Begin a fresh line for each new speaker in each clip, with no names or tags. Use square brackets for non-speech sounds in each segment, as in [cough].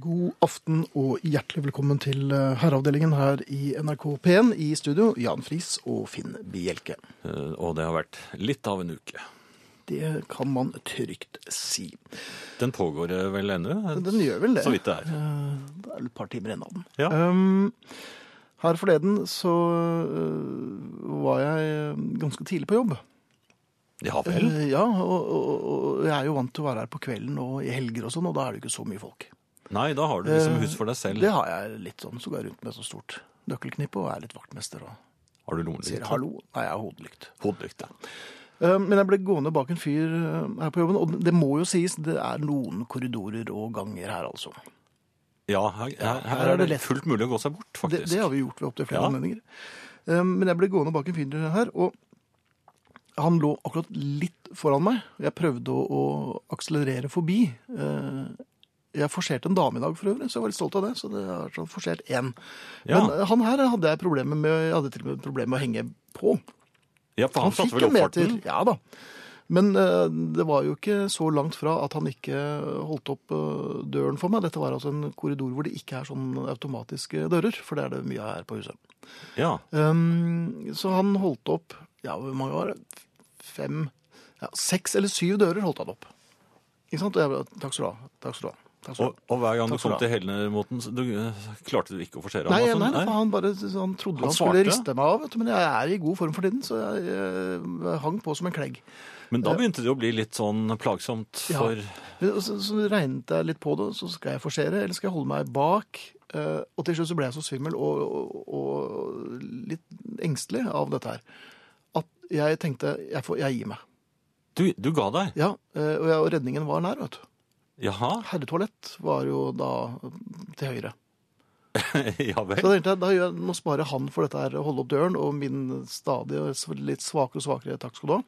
God aften og hjertelig velkommen til eh, Herreavdelingen her i NRK P1. I studio Jan Friis og Finn Bjelke.
Eh, Og det har vært litt av en uke.
Det kan man trygt si.
Den pågår eh, vel ennå?
Den gjør vel det.
Så vidt det er.
Eh, Det er et par timer igjen av den.
Ja.
Um, her forleden så øh, var jeg øh, ganske tidlig på jobb.
Ja vel.
Eh, ja, og, og, og jeg er jo vant til å være her på kvelden og i helger og sånn, og da er det jo ikke så mye folk.
Nei, da har du liksom
eh,
hus for deg selv.
Det har jeg litt sånn, så går jeg rundt med så stort nøkkelknippe og er litt vaktmester og
Har du
sier
lommelykt?
hallo. Nei, jeg har hodelykt.
Hodelykt, ja.
Eh, Men jeg ble gående bak en fyr eh, her på jobben, og det må jo sies, det er noen korridorer og ganger her altså.
Ja, her, her,
her
her
er
er
det
det
lett.
fullt mulig å gå seg bort,
Det,
faktisk.
det har vi gjort ved opptil flere
Ja.
anledninger. Eh, Men jeg ble gående bak en fyr her, og han lå akkurat litt foran meg. og Jeg prøvde å, å akselerere forbi. Eh, Jeg forserte en dame i dag for øvrig, så jeg var litt stolt av det. Så det er sånn forsert én.
Ja.
Men eh, han her hadde jeg problemer med, jeg hadde til og med problemer med å henge på.
ja, for han, satte vel opp farten.
Ja da. Men eh, det var jo ikke så langt fra at han ikke holdt opp eh, døren for meg. Dette var altså en korridor hvor det ikke er sånn automatiske dører, for det er det mye av her på huset.
Ja.
Um, så han holdt opp ja, hvor mange var det? Fem, ja, seks eller syv dører holdt han opp. Ikke sant? Og jeg bare, takk skal du ha. Takk skal du ha. Takk skal du
Og,
ha.
og hver gang du
Takk skal
kom
du
til Helner-måten, så du, eh, klarte du ikke å forsere ham?
Nei,
altså?
nei, for han, bare, han trodde
Han
han, skulle
svarte?
riste meg av, vet du, men jeg er i god form for tiden, så jeg, eh, hang på som en klegg.
Men da begynte det å bli litt sånn plagsomt
Ja.
for
Men Så, så regnet jeg litt på det, så skal jeg forsere, eller skal jeg holde meg bak? Eh, og til slutt så ble jeg så svimmel og, og, og litt engstelig av dette her, at jeg tenkte, jeg, får, jeg gir meg.
Du, du ga deg?
Ja, eh, og, jeg, og redningen var nær, vet du.
Jaha? [laughs]
Herretoalett var jo da til høyre.
ja
Så
vel.
da tenkte jeg, da gjør jeg, nå sparer han for dette her, holde opp døren, og min stadig litt svakere og svakere, takk skal du ha.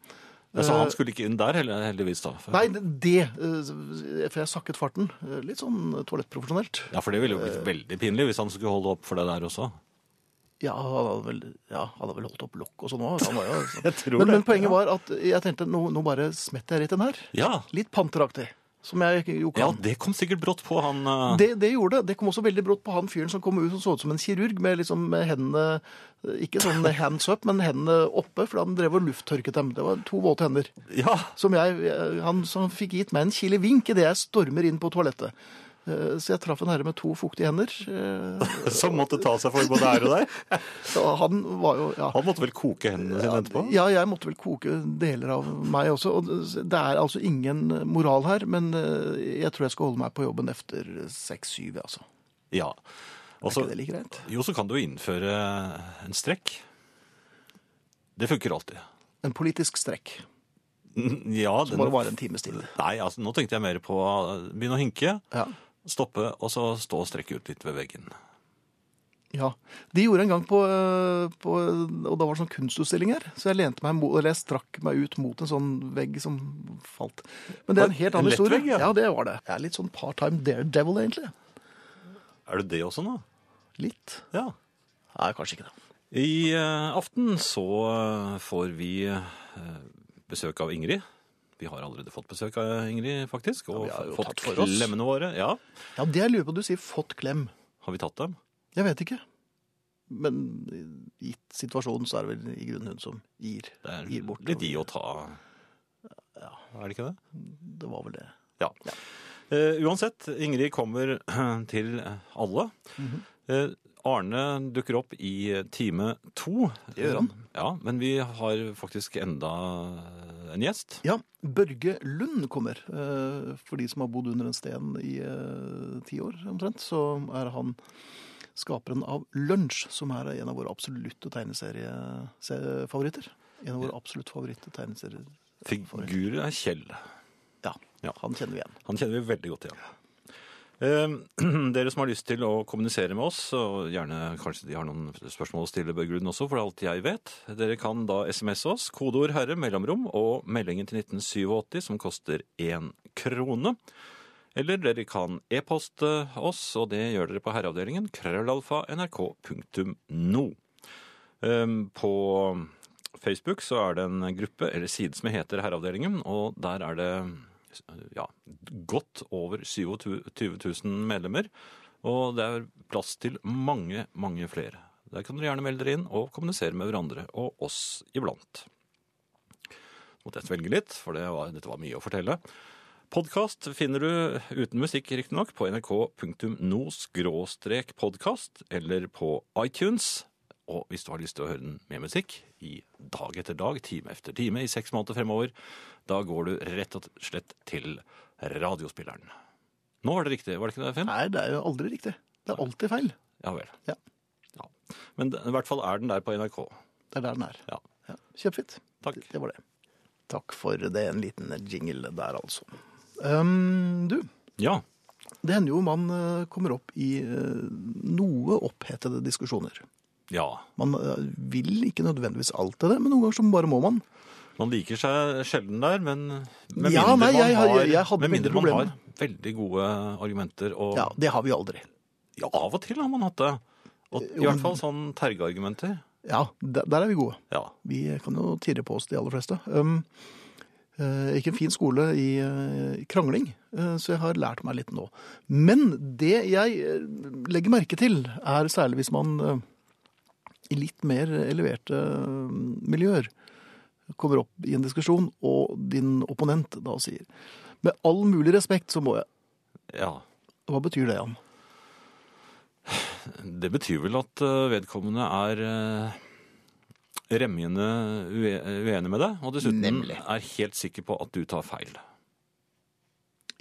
Så Altså, han skulle ikke inn der, heller- heldigvis, da?
eh, Nei, det, det, eh, for jeg sakket farten, eh, litt sånn toalettprofesjonelt.
Ja, for det ville jo blitt veldig pinlig hvis han skulle holde opp for det der også.
Ja, han hadde vel, ja, han hadde vel holdt opp lokk og sånn òg.
[laughs] Jeg tror
Men,
det.
men poenget var at jeg tenkte nå, nå bare smetter jeg rett den her.
Ja.
Litt panteraktig. Som jeg jo
ja,
kan.
det kom sikkert brått på han. eh,
Det, det gjorde det. Det kom også veldig brått på han fyren som kom ut som så ut som en kirurg, med liksom med hendene Ikke
[laughs]
sånn hands up, men hendene oppe, for han drev og lufttørket dem. Det var to våte hender.
Ja,
Som jeg, han som fikk gitt meg en kile vink idet jeg stormer inn på toalettet. Eh, Så jeg traff en herre med to fuktige hender. eh,
som måtte ta seg for både her og der.
Og han var jo ja.
Han måtte vel koke hendene sine etterpå?
Ja, jeg måtte vel koke deler av meg også. Og det er altså ingen moral her, men eh, jeg tror jeg skal holde meg på jobben efter 6-7, altså.
Ja. Og
Er
så-
ikke det like greit?
jo, så kan du jo innføre en strekk. Det funker alltid. [laughs]
En politisk strekk
Mm, Ja,
som
den,
bare varer en times tid.
Nei, altså, nå tenkte jeg mer på eh, begynne å hinke,
Ja.
stoppe, og så stå og strekke ut litt ved veggen.
ja. De gjorde en gang på, eh, på Og da var det sånn kunstutstilling her. Så jeg lente meg mot, eller jeg strakk meg ut mot en sånn vegg som falt. Men det er en helt
En
annen
lett
historie.
vegg, ja.
ja, det var det. Jeg er litt sånn part-time daredevil, egentlig.
Er du det også nå?
Litt.
Ja.
Nei, kanskje ikke det.
I eh, aften så eh, får vi eh, besøk av Ingrid. Vi har allerede fått besøk av Ingrid, faktisk. Og
vi har jo
fått
tatt for oss.
klemmene våre. Ja,
Ja, det jeg lurer på. Du sier 'fått klem'.
Har vi tatt dem?
Jeg vet ikke. Men gitt situasjonen, så er det vel i grunnen hun som gir,
Det er
gir bort.
litt i å ta Er det ikke det?
Det var vel det.
Ja. Eh, uansett, Ingrid kommer [clears throat] til alle.
Mhm.
eh, Arne dukker opp i time to.
Det gjør han.
Ja, men vi har faktisk enda en gjest.
Ja, Børge Lund kommer. Eh, For de som har bodd under en sten i eh, ti år omtrent, så er han skaperen av Lunsj, som er en av våre absolutte tegneseriefavoritter. En av våre absolutt favoritte tegneserier.
Figuret er Kjell.
Ja,
Ja.
han kjenner vi igjen.
Han kjenner vi veldig godt igjen. Eh, [clears throat] Dere som har lyst til å kommunisere med oss, og gjerne kanskje de har noen spørsmål å stille Børge Lund også, for alt jeg vet, dere kan da SMS oss, kodeord 'herre', mellomrom, og meldingen til 1987 som koster én krone. Eller dere kan e-poste oss, og det gjør dere på herreavdelingen krøllalfa nrk.no. Ehm, På Facebook så er det en gruppe eller side som heter Herreavdelingen, og der er det ja, godt over 27 000 medlemmer. Og det er plass til mange, mange flere. Der kan dere gjerne melde dere inn og kommunisere med hverandre og oss iblant. Så måtte jeg svelge litt, for det var, dette var mye å fortelle. Podkast finner du uten musikk, riktignok, på nrk.no-podkast eller på iTunes. Og hvis du har lyst til å høre den med musikk i dag etter dag, time etter time i seks måneder fremover, da går du rett og slett til radiospilleren. Nå var det riktig, var det ikke det, Finn?
Nei, det er jo aldri riktig. Det er alltid feil.
Ja vel.
Ja.
Ja. Men i hvert fall er den der på NRK.
Det er der den er.
Ja.
Ja. Kjempefint.
Takk.
Det var det. Takk for det. En liten jingle der, altså. Um, du,
Ja.
det hender jo man eh, kommer opp i eh, noe opphetede diskusjoner.
ja.
Man eh, vil ikke nødvendigvis alt til det, men noen ganger så bare må man.
Man liker seg sjelden der, men med
Ja, nei,
mindre, man,
jeg har-
har,
jeg- jeg hadde
med mindre
mindre
man har
problemer.
veldig gode argumenter og
Ja, Det har vi aldri.
Ja, av og til har man hatt det. Og, I hvert fall sånn tergeargumenter.
Ja, der, der er vi gode.
Ja.
Vi kan jo tirre på oss de aller fleste. Um, eh, ikke en fin skole i eh, krangling, eh, så jeg har lært meg litt nå. Men det jeg eh, legger merke til, er særlig hvis man eh, i litt mer eleverte eh, miljøer kommer opp i en diskusjon, og din opponent da sier Med all mulig respekt så må jeg
ja.
Hva betyr det, Jan?
Det betyr vel at eh, vedkommende er eh, remjende ue- uenig med deg, og dessuten
Nemlig.
er helt sikker på at du tar feil.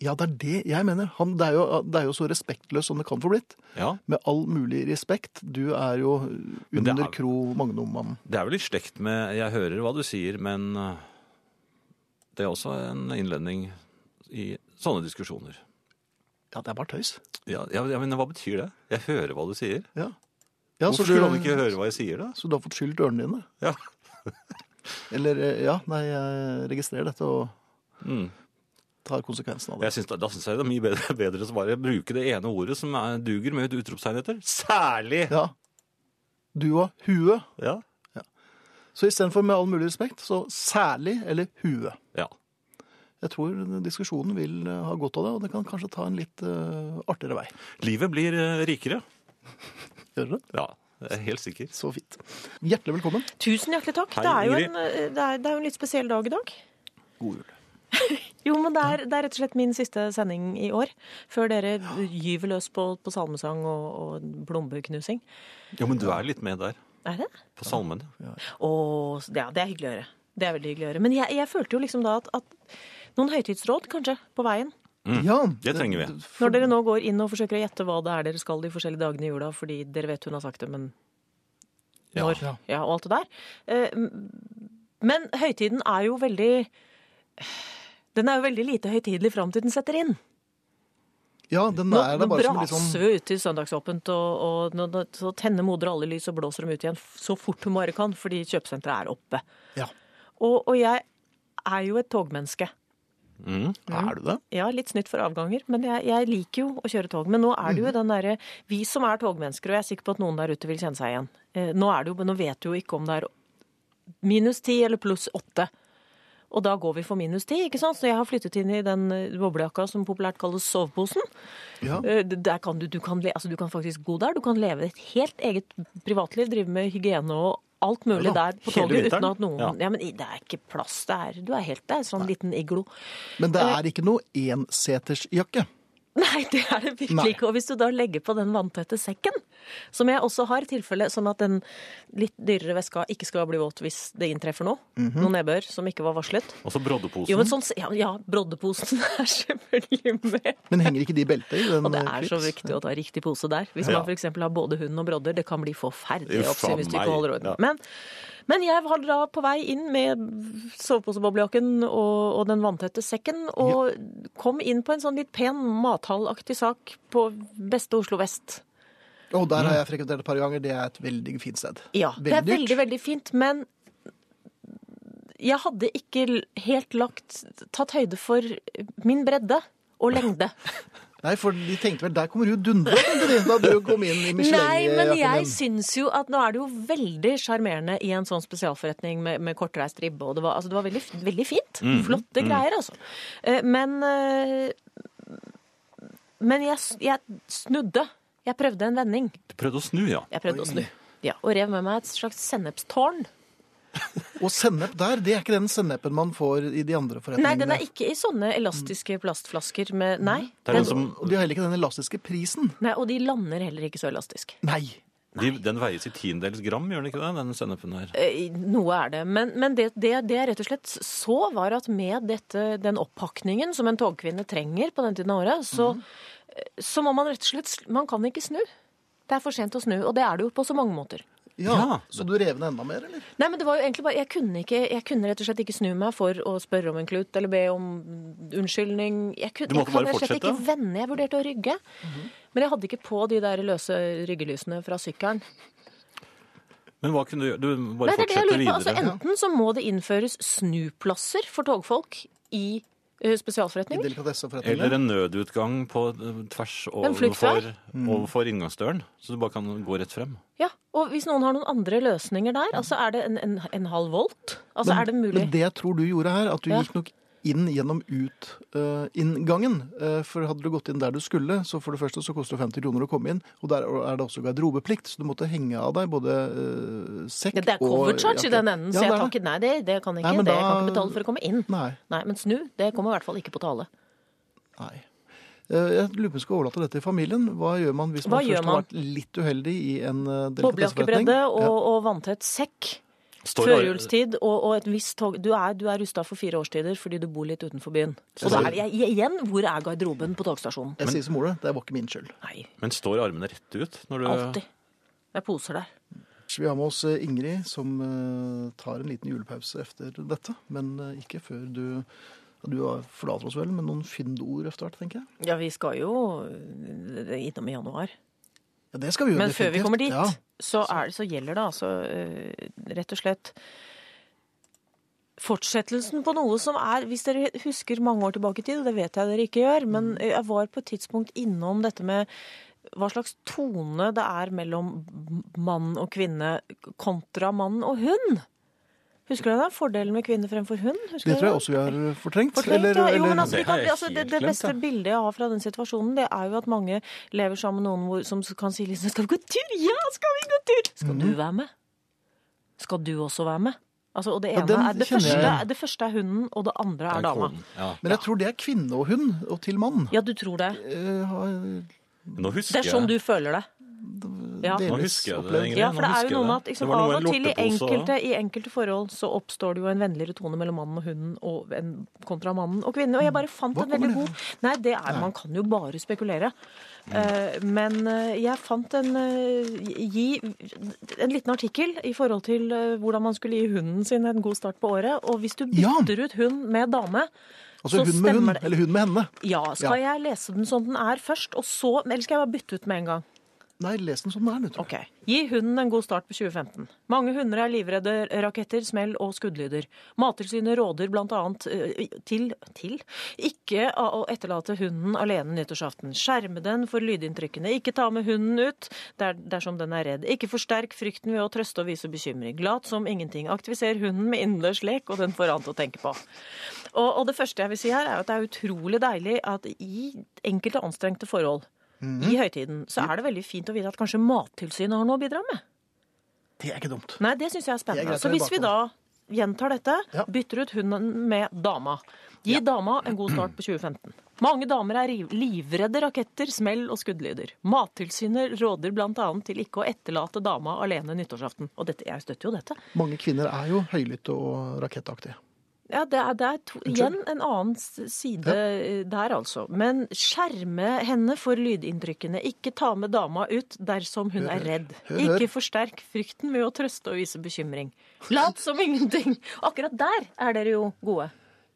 Ja, det er det jeg mener. Han, det, er jo, det er jo så respektløst som det kan få blitt.
Ja.
Med all mulig respekt, du er jo
det
under
er-
Kro Magnum-mannen.
Det er vel i slekt med 'jeg hører hva du sier', men eh, det er også en innledning i sånne diskusjoner.
Ja, det er bare tøys.
Ja, ja, ja, men hva betyr det? Jeg hører hva du sier.
Ja. Ja,
Hvorfor
du-
skulle han ikke høre hva jeg sier, da?
Så du har fått skylt ørene dine?
Ja.
Eller eh, ja, nei, jeg registrerer dette og
Mm.
tar konsekvensen av det.
Jeg synes, da- da syns jeg det er mye bedre, [laughs] bedre å bare bruke det ene ordet som er, duger med et utropstegn etter. Særlig!
Ja. Du og huet.
Ja.
Så istedenfor med all mulig respekt, så særlig eller huet.
ja.
Jeg tror diskusjonen vil eh, ha godt av det, og det kan kanskje ta en litt eh, artigere vei.
Livet blir eh, rikere.
Gjør det?
Ja, jeg er helt sikker.
Så fint. Hjertelig velkommen.
Tusen hjertelig takk.
Hei,
det, er jo
Ingrid.
en, eh, det, er, det er jo en litt spesiell dag i dag.
God jul.
Jo, men det er, det er rett og slett min siste sending i år. Før dere gyver løs på, på salmesang og, og blombeknusing.
Jo, men du er litt med der.
Er det?
På salmene.
Og, s- ja, det er hyggelig å høre. Det er veldig hyggelig å høre. Men jeg, jeg følte jo liksom da at, at noen høytidsråd, kanskje, på veien.
Ja,
Det trenger vi.
Når dere nå går inn og forsøker å gjette hva det er dere skal de forskjellige dagene i jula, fordi dere vet hun har sagt det, men
Ja.
når ja. og alt det der. Eh, m- Men høytiden er jo veldig Den er jo veldig lite høytidelig fram til den setter inn.
Ja, den
Nå,
er
nå
det bare som en litt
braser
sånn
vi ut i søndagsåpent, og, og nå, nå, så tenner moder alle lys og blåser dem ut igjen f- så fort hun bare kan, fordi kjøpesenteret er oppe.
Ja.
Og, og jeg er jo et togmenneske.
Er du det?
Ja, litt snytt for avganger, men jeg, jeg liker jo å kjøre tog. Men nå er det jo den derre Vi som er togmennesker, og jeg er sikker på at noen der ute vil kjenne seg igjen. Eh, Nå, er det jo, nå vet du jo ikke om det er minus ti eller pluss åtte. Og da går vi for minus ti, ikke sant? Så jeg har flyttet inn i den eh, boblejakka som populært kalles soveposen.
Ja.
Eh, d- Der kan du, du, kan, le- altså du kan faktisk bo der. Du kan leve et helt eget privatliv, drive med hygiene og alt mulig
Ja da,
der på
hele
toget uten
vinteren.
at noen ja. men i- det er ikke plass der. Du er helt der. Sånn liten iglo.
Men det
Eh,
er ikke noe ensetersjakke.
Nei, det er det virkelig
Nei.
ikke. Og hvis du da legger på den vanntette sekken, som jeg også har i tilfelle, sånn at den litt dyrere veska ikke skal bli våt hvis det inntreffer noe, noe nedbør som ikke var varslet.
Og så broddeposen.
Jo, men sånn, ja, ja, broddeposen [laughs] er selvfølgelig med.
Men henger ikke de i beltet i den
Og det er så
eh, clips?
viktig å ta riktig pose der. Hvis
Ja.
man f.eks. har både hund og brodder, det kan bli forferdelig
Uff,
oppsyn hvis du
faen
ikke
meg.
holder orden.
Ja.
Men, men jeg var da på vei inn med sovepose-boblejakken og, og den vanntette sekken, og kom inn på en sånn litt pen mathallaktig sak på beste Oslo vest.
Og der
Mm.
har jeg frekventert et par ganger. Det er et veldig fint sted.
Ja, det er
Veldig dyrt.
veldig, veldig fint, men jeg hadde ikke l- helt lagt, tatt høyde for min bredde og lengde.
Nei, for de tenkte vel der kommer hun dundra, tenkte de, da du kom inn i
Nei, men jeg
Michelin-jakken din.
syns jo at nå er det jo veldig sjarmerende i en sånn spesialforretning med, med kortreist ribbe, og det var, altså, det var veldig, veldig fint.
Mm.
Flotte greier, altså. Eh, Men eh, Men jeg, s- jeg snudde. Jeg prøvde en vending.
Du prøvde å snu, ja.
Jeg prøvde å snu. Ja, og rev med meg et slags sennepstårn.
Og sennep der, det er ikke den sennepen man får i de andre
Nei,
forretningene.
den er ikke i sånne elastiske plastflasker med Nei.
Mm. Det er den
den-
som,
Og de har heller ikke den elastiske prisen.
Nei, og de lander heller ikke så elastisk.
Nei.
de, den veies i tiendels gram, gjør den ikke det? Den sennepen her.
Eh, Noe er det. Men, men det, det, det jeg rett og slett så, var at med dette, den oppakningen som en togkvinne trenger på den tiden av året, så,
Mhm.
eh, så må man rett og slett sl- Man kan ikke snu. Det er for sent å snu, og det er det jo på så mange måter.
Ja,
Ja.
Så du rev den enda mer, eller?
Nei, men det var jo egentlig bare, jeg kunne, ikke, jeg kunne rett og slett ikke snu meg for å spørre om en klut eller be om unnskyldning. Jeg, kunne,
Du måtte
jeg kan
bare
rett og slett
fortsette? Mhm.
ikke vende. Jeg vurderte å rygge. Men jeg hadde ikke på de der løse ryggelysene fra sykkelen.
Men hva kunne du gjøre? Du må
Nei,
bare
det er det jeg
fortsette
lurer på. Altså,
videre.
enten så må det innføres snuplasser for togfolk i eh,
I
spesialforretninger.
Eller
delikatesseforretningen?
en nødutgang på eh, tvers
En
overfor,
fluktvei?
overfor inngangsdøren, så du bare kan gå rett frem.
Ja, Og hvis noen har noen andre løsninger der, altså er det en, en, en halv volt? Altså er det mulig?
Men det jeg tror du gjorde her, at du
Ja.
gikk nok inn gjennom ut-inngangen. for hadde du gått inn der du skulle, så for det første så koster det 50 kroner å komme inn, og der er det også garderobeplikt, så du måtte henge av deg både eh, sekk
Ja,
og
det er cover charge i
jakke.
den enden,
Ja,
så
det
jeg
er
kan
det.
ikke Nei, det, det kan jeg
Nei,
ikke.
men
det, jeg kan
da-
ikke betale for å komme inn.
Nei.
Nei, men snu, det kommer i hvert fall ikke på tale.
nei. Eh, Jeg lurer på om vi skal overlate dette til familien. Hva gjør man hvis
Hva
man
gjør
først har
man?
vært litt uheldig i en eh, delikatesseforretning?
Boblejakkebredde og, og vanntett sekk.
Står-
Førjulstid og, og et visst tog. Du er, du er rusta for fire årstider fordi du bor litt utenfor byen. Og da er det jeg- igjen hvor er garderoben på togstasjonen?
Jeg sier som Ole, det var ikke min skyld.
Nei,
Men står armene rett ut? Når du,
alltid. Det er poser der.
Vi har med oss eh, Ingrid, som eh, tar en liten julepause etter dette. Men eh, ikke før du ja, Du har- forlater oss vel med noen fyndord etter hvert, tenker jeg.
Ja, vi skal jo øh, innom i januar.
Ja, det skal vi gjøre
Men før vi
definitivt.
kommer dit,
Ja.
så, er det, så gjelder det altså øh, rett og slett Fortsettelsen på noe som er Hvis dere husker mange år tilbake i tid, og det vet jeg dere ikke gjør, men
Mm.
jeg var på et tidspunkt innom dette med hva slags tone det er mellom mann og kvinne kontra mann og hund. Husker dere det? Fordelen med kvinne fremfor hund? Husker
Det
dere
tror jeg også vi har eh, fortrengt.
Fortrengt,
eller-
ja. jo,
eller-
men altså,
Det
vi
har
kan,
jeg
altså, det,
helt
det
glemt,
beste
ja.
bildet jeg har fra den situasjonen, det er jo at mange lever sammen med noen hvor, som kan si liksom 'Skal vi gå tur?' 'Ja, skal vi gå tur?' Skal du være med? Skal du også være med? Altså, og det
Ja,
ene
den
er det
kjenner jeg
første,
igjen.
det første er hunden, og det andre er
er
dama.
koden. Ja.
men jeg tror det er kvinne og hund, og til mann.
Ja, du tror det.
Eh, har
Nå husker
Det er sånn
jeg.
du føler det. Ja.
delvis
Nå husker jeg det,
opplevd.
Ingrid.
Ja, for
nå
det er
husker
jo noe
jeg
med
det.
at
Det
liksom,
var noe
av
med
og til i
lortepose også.
enkelte, i enkelte forhold så oppstår det jo en vennligere tone mellom mannen og hunden og en, kontra mannen og kvinnen. Og jeg bare fant
Hva
en veldig
kommer det
god Nei, det er Man kan jo bare spekulere.
Mm.
Eh, men eh, jeg fant en, eh, gi, en liten artikkel i forhold til eh, hvordan man skulle gi hunden sin en god start på året. Og hvis du
Ja.
bytter ut hund med dame
Altså
Så
hun med hun,
stemmer det.
eller hun med henne.
Ja, skal jeg lese den som den er først, og så Eller skal jeg bare bytte ut med en gang?
Nei, les den som den er, du. tror jeg.
Ok. Gi hunden en god start på 2015. Mange hunder er livredde raketter, smell og skuddlyder. Mattilsynet råder bl.a. til, til ikke å å etterlate hunden alene nyttårsaften. Skjerme den for lydinntrykene. Ikke ta med hunden ut der, dersom den er redd. Ikke forsterk frykten ved å trøste og vise bekymring. Lat som ingenting. Aktiviser hunden med innendørs lek, og den får annet å tenke på. Og, og det første jeg vil si her, er at det er utrolig deilig at i enkelte anstrengte forhold i høytiden, så er det veldig fint å vite at kanskje Mattilsynet har noe å bidra med.
Det er ikke dumt.
Nei, det syns jeg er
Det er
spennende.
greit å
Så
være
hvis vi da gjentar dette,
Ja.
bytter ut hunden med dama. Gi dama en god start på 2015. Mange damer er riv- livredde raketter, smell og skuddlyder. Mattilsynet råder bl.a. til ikke å etterlate dama alene nyttårsaften. Og dette, jeg støtter jo dette.
Mange kvinner er jo høylytte og rakettaktige.
Ja, det er, det er to, igjen en annen s- side eh, der, altså. Men skjerme henne for lydinntrykkene. Ikke ta med dama ut dersom hun er redd.
Hør, hør.
Ikke forsterk frykten med å trøste og vise bekymring. Lat som ingenting. Akkurat der er dere jo gode.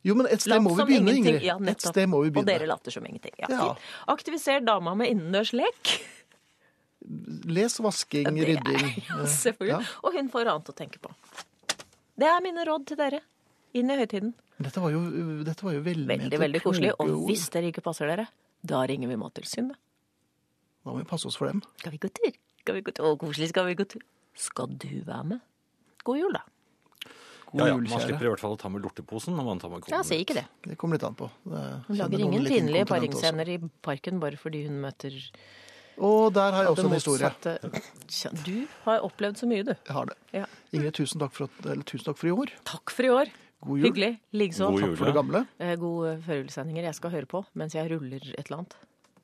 Jo, men et sted
Lat
må vi
som
begynne,
ingenting.
Ingrid.
Ja,
et
nettopp.
sted må vi
Og dere
begynne.
later som ingenting. Ja,
Ja.
fint. Aktiviser dama med innendørs lek. [laughs]
Les vasking,
Det er-
rydding.
[laughs] Ja,
eh,
selvfølgelig.
ja.
Og hun får annet å tenke på. Det er mine råd til dere inn i høytiden.
Dette var jo, dette var jo velment.
Veldig, veldig koselig. Og hvis dere ikke passer dere, Da ringer vi Mattilsynet.
Da må vi passe oss for dem.
Skal vi gå tur? Skal vi gå tur? Å, koselig, skal vi gå tur? Skal du være med? God jul, da.
God
Ja, ja,
jul,
man
kjære.
slipper i hvert fall å ta med lorteposen når man tar med
Ja, si ikke det.
Det kommer litt an på. Det er-
Hun
kjenner
lager
noen
ingen
litt
pinlige
inkontinente også.
paringsscener i parken bare fordi hun møter
Og der har jeg også
det
en historie.
motsatte. Du har opplevd så mye, du.
Jeg har det.
Ja.
Ingrid, tusen takk for, at, eller, tusen takk for i år.
Takk for i år.
God jul.
Hyggelig. Likeså.
God jul.
For det gamle.
Eh, God førjulssendinger. Jeg skal høre på mens jeg ruller et eller annet.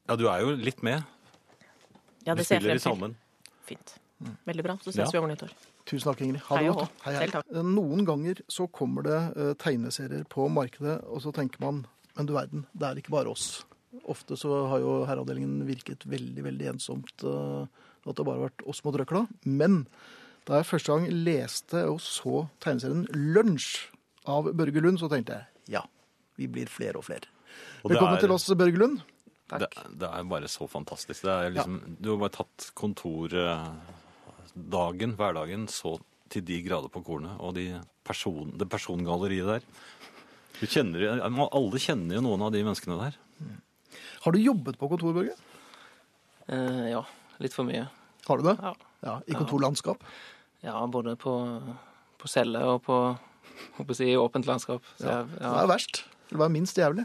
Ja, du er jo litt med.
Ja,
Du
det ser
spiller
jeg
i
frem til.
salmen.
Fint. Mm. Veldig bra. Så
Ja.
ses vi over nyttår.
Tusen takk, Ingrid. Ha det
Hei og
godt. Eh,
hå. Selv takk.
Noen ganger så kommer det eh, tegneserier på markedet, og så tenker man men du verden, det er ikke bare oss. Ofte så har jo herreavdelingen virket veldig, veldig ensomt. eh, At det bare har vært oss mot røkla. Men da jeg første gang leste og så tegneserien Lunsj av Børge Lund, så tenkte jeg ja, vi blir flere og flere.
Og det
Velkommen
er-
til oss, Børge Lund.
Det, det er bare så fantastisk. Det er liksom, Du har bare tatt kontordagen, hverdagen, så til de grader på kornet. Og de person, det persongalleriet der. Du kjenner, jo- alle kjenner jo noen av de menneskene der.
Har du jobbet på kontor, Børge?
Eh, ja, litt for mye.
Har du det?
Ja.
Ja, I kontorlandskap?
Ja, både på, på celle og på håper jeg, å si, i åpent landskap. Så jeg,
Det er
ja.
verst. Det var minst jævlig.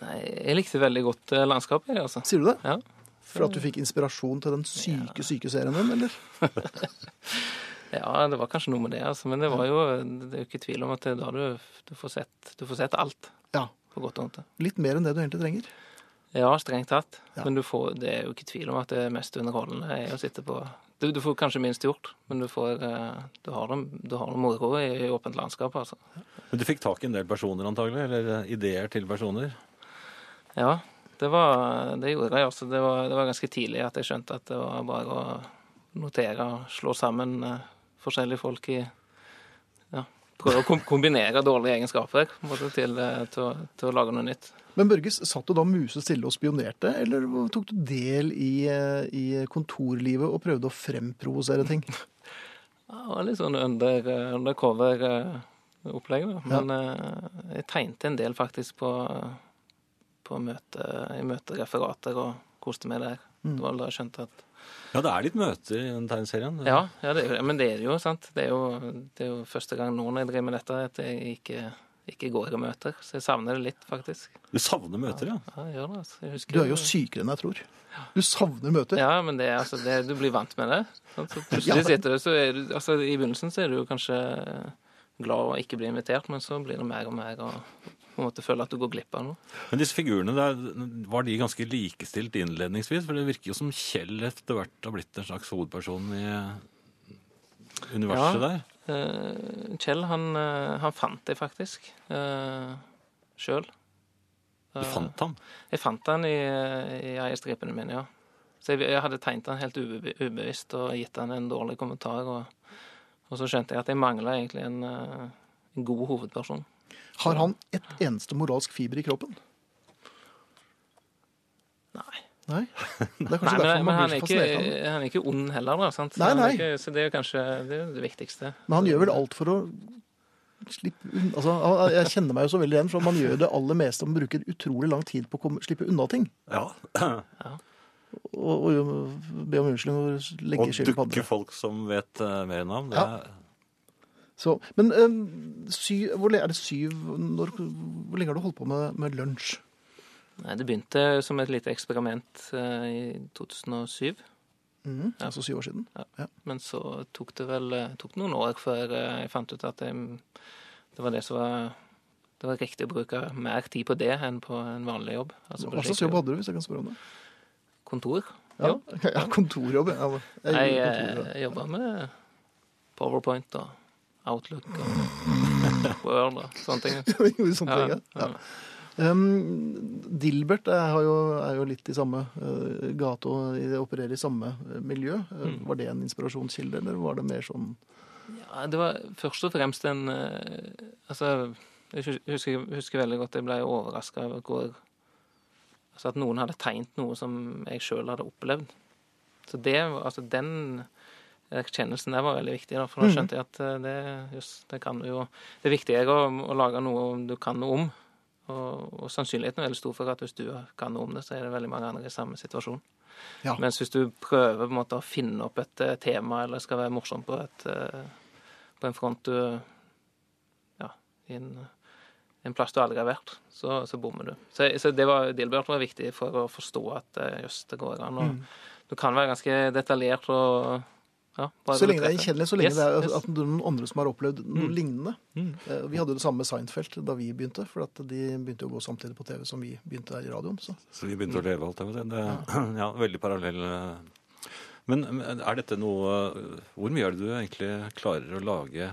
Nei, jeg likte veldig godt eh, landskapet i det, altså.
Sier du det?
Ja.
For at du fikk inspirasjon til den syke, syke serien din, eller?
ja, det var kanskje noe med det, altså. Men det var jo Det er jo ikke tvil om at det er da du, du, får sett, du får sett alt,
Ja.
på godt og vondt.
Litt mer enn det du egentlig trenger.
Ja, strengt tatt.
Ja.
Men du får, det er jo ikke tvil om at det mest underholdende er å sitte på Du, du får kanskje minst gjort, men du, får, eh, du har det du har det moro i, i åpent landskap, altså.
Men du fikk tak i en del personer antagelig, eller eh, ideer til personer.
Ja, det, var, det gjorde jeg også. Det var, det var ganske tidlig at jeg skjønte at det var bare å notere og slå sammen eh, forskjellige folk i ja, Prøve å kom- kombinere dårlige egenskaper på en måte, til, eh, til, å- til å lage noe nytt.
Men Børges, satt du da musestille og spionerte, eller tok du del i, eh, i kontorlivet og prøvde å fremprovosere ting?
Ja, det var litt sånn under, undercover-opplegg, da. Men eh, jeg tegnte en del faktisk på, på møte, i møtereferater og koste meg der. Det var da jeg skjønte at
Ja, det er litt møter i den tegneserien.
Ja, ja det, er jo det. men det er det jo, sant. Det er jo, det er jo første gang nå når jeg driver med dette, at jeg ikke, ikke går i møter. Så jeg savner det litt, faktisk.
Du savner møter, ja.
Ja, jeg gjør det, altså. Jeg husker
Du er jo sykere enn jeg tror. Du savner møter.
Ja, men det, er altså, det, du blir vant med det. Sant? Så
Ja.
plutselig sitter du, så er du altså, I begynnelsen så er du jo kanskje glad å ikke bli invitert, men så blir det mer og mer og på en måte føler at du går glipp av noe.
Men disse figurene, der, var de ganske likestilt innledningsvis? For det virker jo som Kjell etter hvert har blitt en slags hovedperson i universet
Ja.
der.
Eh, Kjell, han, eh, han fant det faktisk uh, sjøl.
Du fant ham.
Jeg fant den i, i ei av stripene mine, ja. Så jeg, jeg hadde tegnet den helt ube, ubevisst og gitt den en dårlig kommentar. Og, og så skjønte jeg at jeg mangla egentlig en, eh, en god hovedperson.
Har han et eneste moralsk fiber i kroppen?
Nei. [laughs]
Nei? Det er
Nei
kanskje derfor
men, men
man
han
blir så
er ikke,
fascinert av det.
han er ikke ond heller, da. sant? Så
Nei,
han er
nei.
Ikke, så det er jo kanskje det, er jo det viktigste.
Men han gjør vel alt for å slippe unna altså, han- Jeg kjenner meg jo så veldig igjen, for man gjør det aller meste. Man bruker utrolig lang tid på å komme, slippe unna ting.
Ja,
og, og jo- be om unnskyldning og legge
Og
skylden på
dukke
andre.
folk som vet eh, mer enn ham. Det
Ja.
er,
Så, men eh, syv, hvor, le- er det syv når, Hvor lenge har du holdt på med, med lunsj?
Nei, det begynte som et lite eksperiment eh, i 2007.
Mhm, Altså syv år siden.
Men så tok det vel eh, tok det noen år før eh, jeg fant ut at jeg, det var det som var det var riktig å bruke mer tid på det enn på en vanlig jobb. Altså på
Hva slags
skikkelig
jobb hadde du, hvis jeg kan spørre om det?
Kontor.
Ja, [laughs]
jobb.
ja kontorjobb. ja. Jeg,
Jeg
gjorde
eh,
kontorjobb.
jobba med Powerpoint og Outlook og
[laughs]
Word og sånne ting.
[laughs] Jeg gjorde sånne ting, ja.
Ja,
ja. Um, Dilbert er, har jo, er jo litt i samme eh, gate og i- opererer i samme eh, miljø. Eh,
Mm.
Var det en inspirasjonskilde, eller var det mer sånn
Ja, det var først og fremst en eh, Altså, jeg hus- husker, husker veldig godt jeg ble overraska over hvor Altså at noen hadde tegnet noe som jeg sjøl hadde opplevd. Så det, var- altså den erkjennelsen der var veldig viktig, da, for da skjønte jeg at eh, det, jøss, det kan du jo Det er viktigere å, å lage noe du kan noe om, Og, og sannsynligheten er veldig stor for at hvis du kan noe om det, så er det veldig mange andre i samme situasjon.
Ja.
Mens hvis du prøver på en måte å finne opp et eh, tema eller skal være morsom på, et, eh, på en front du Ja, i en, en plass du aldri har vært, så, så bommer du. Så, så det var, Dilbert var viktig for å forstå at eh, jøss, det går an.
Mm.
Og Du kan være ganske detaljert og ja, bare
Så lenge det er
treffer.
gjenkjennelig, så lenge
Yes,
det er altså,
yes. Mm.
at det er noen andre som har opplevd noe lignende. Eh, Vi hadde jo det samme med Seinfeld da vi begynte, for at de begynte jo å gå samtidig på TV som vi begynte her i radioen. Så.
Så vi begynte å leve alt det. var det. det [clears throat] ja, veldig parallell. eh. Men men er dette noe eh, Hvor mye er det du egentlig klarer å lage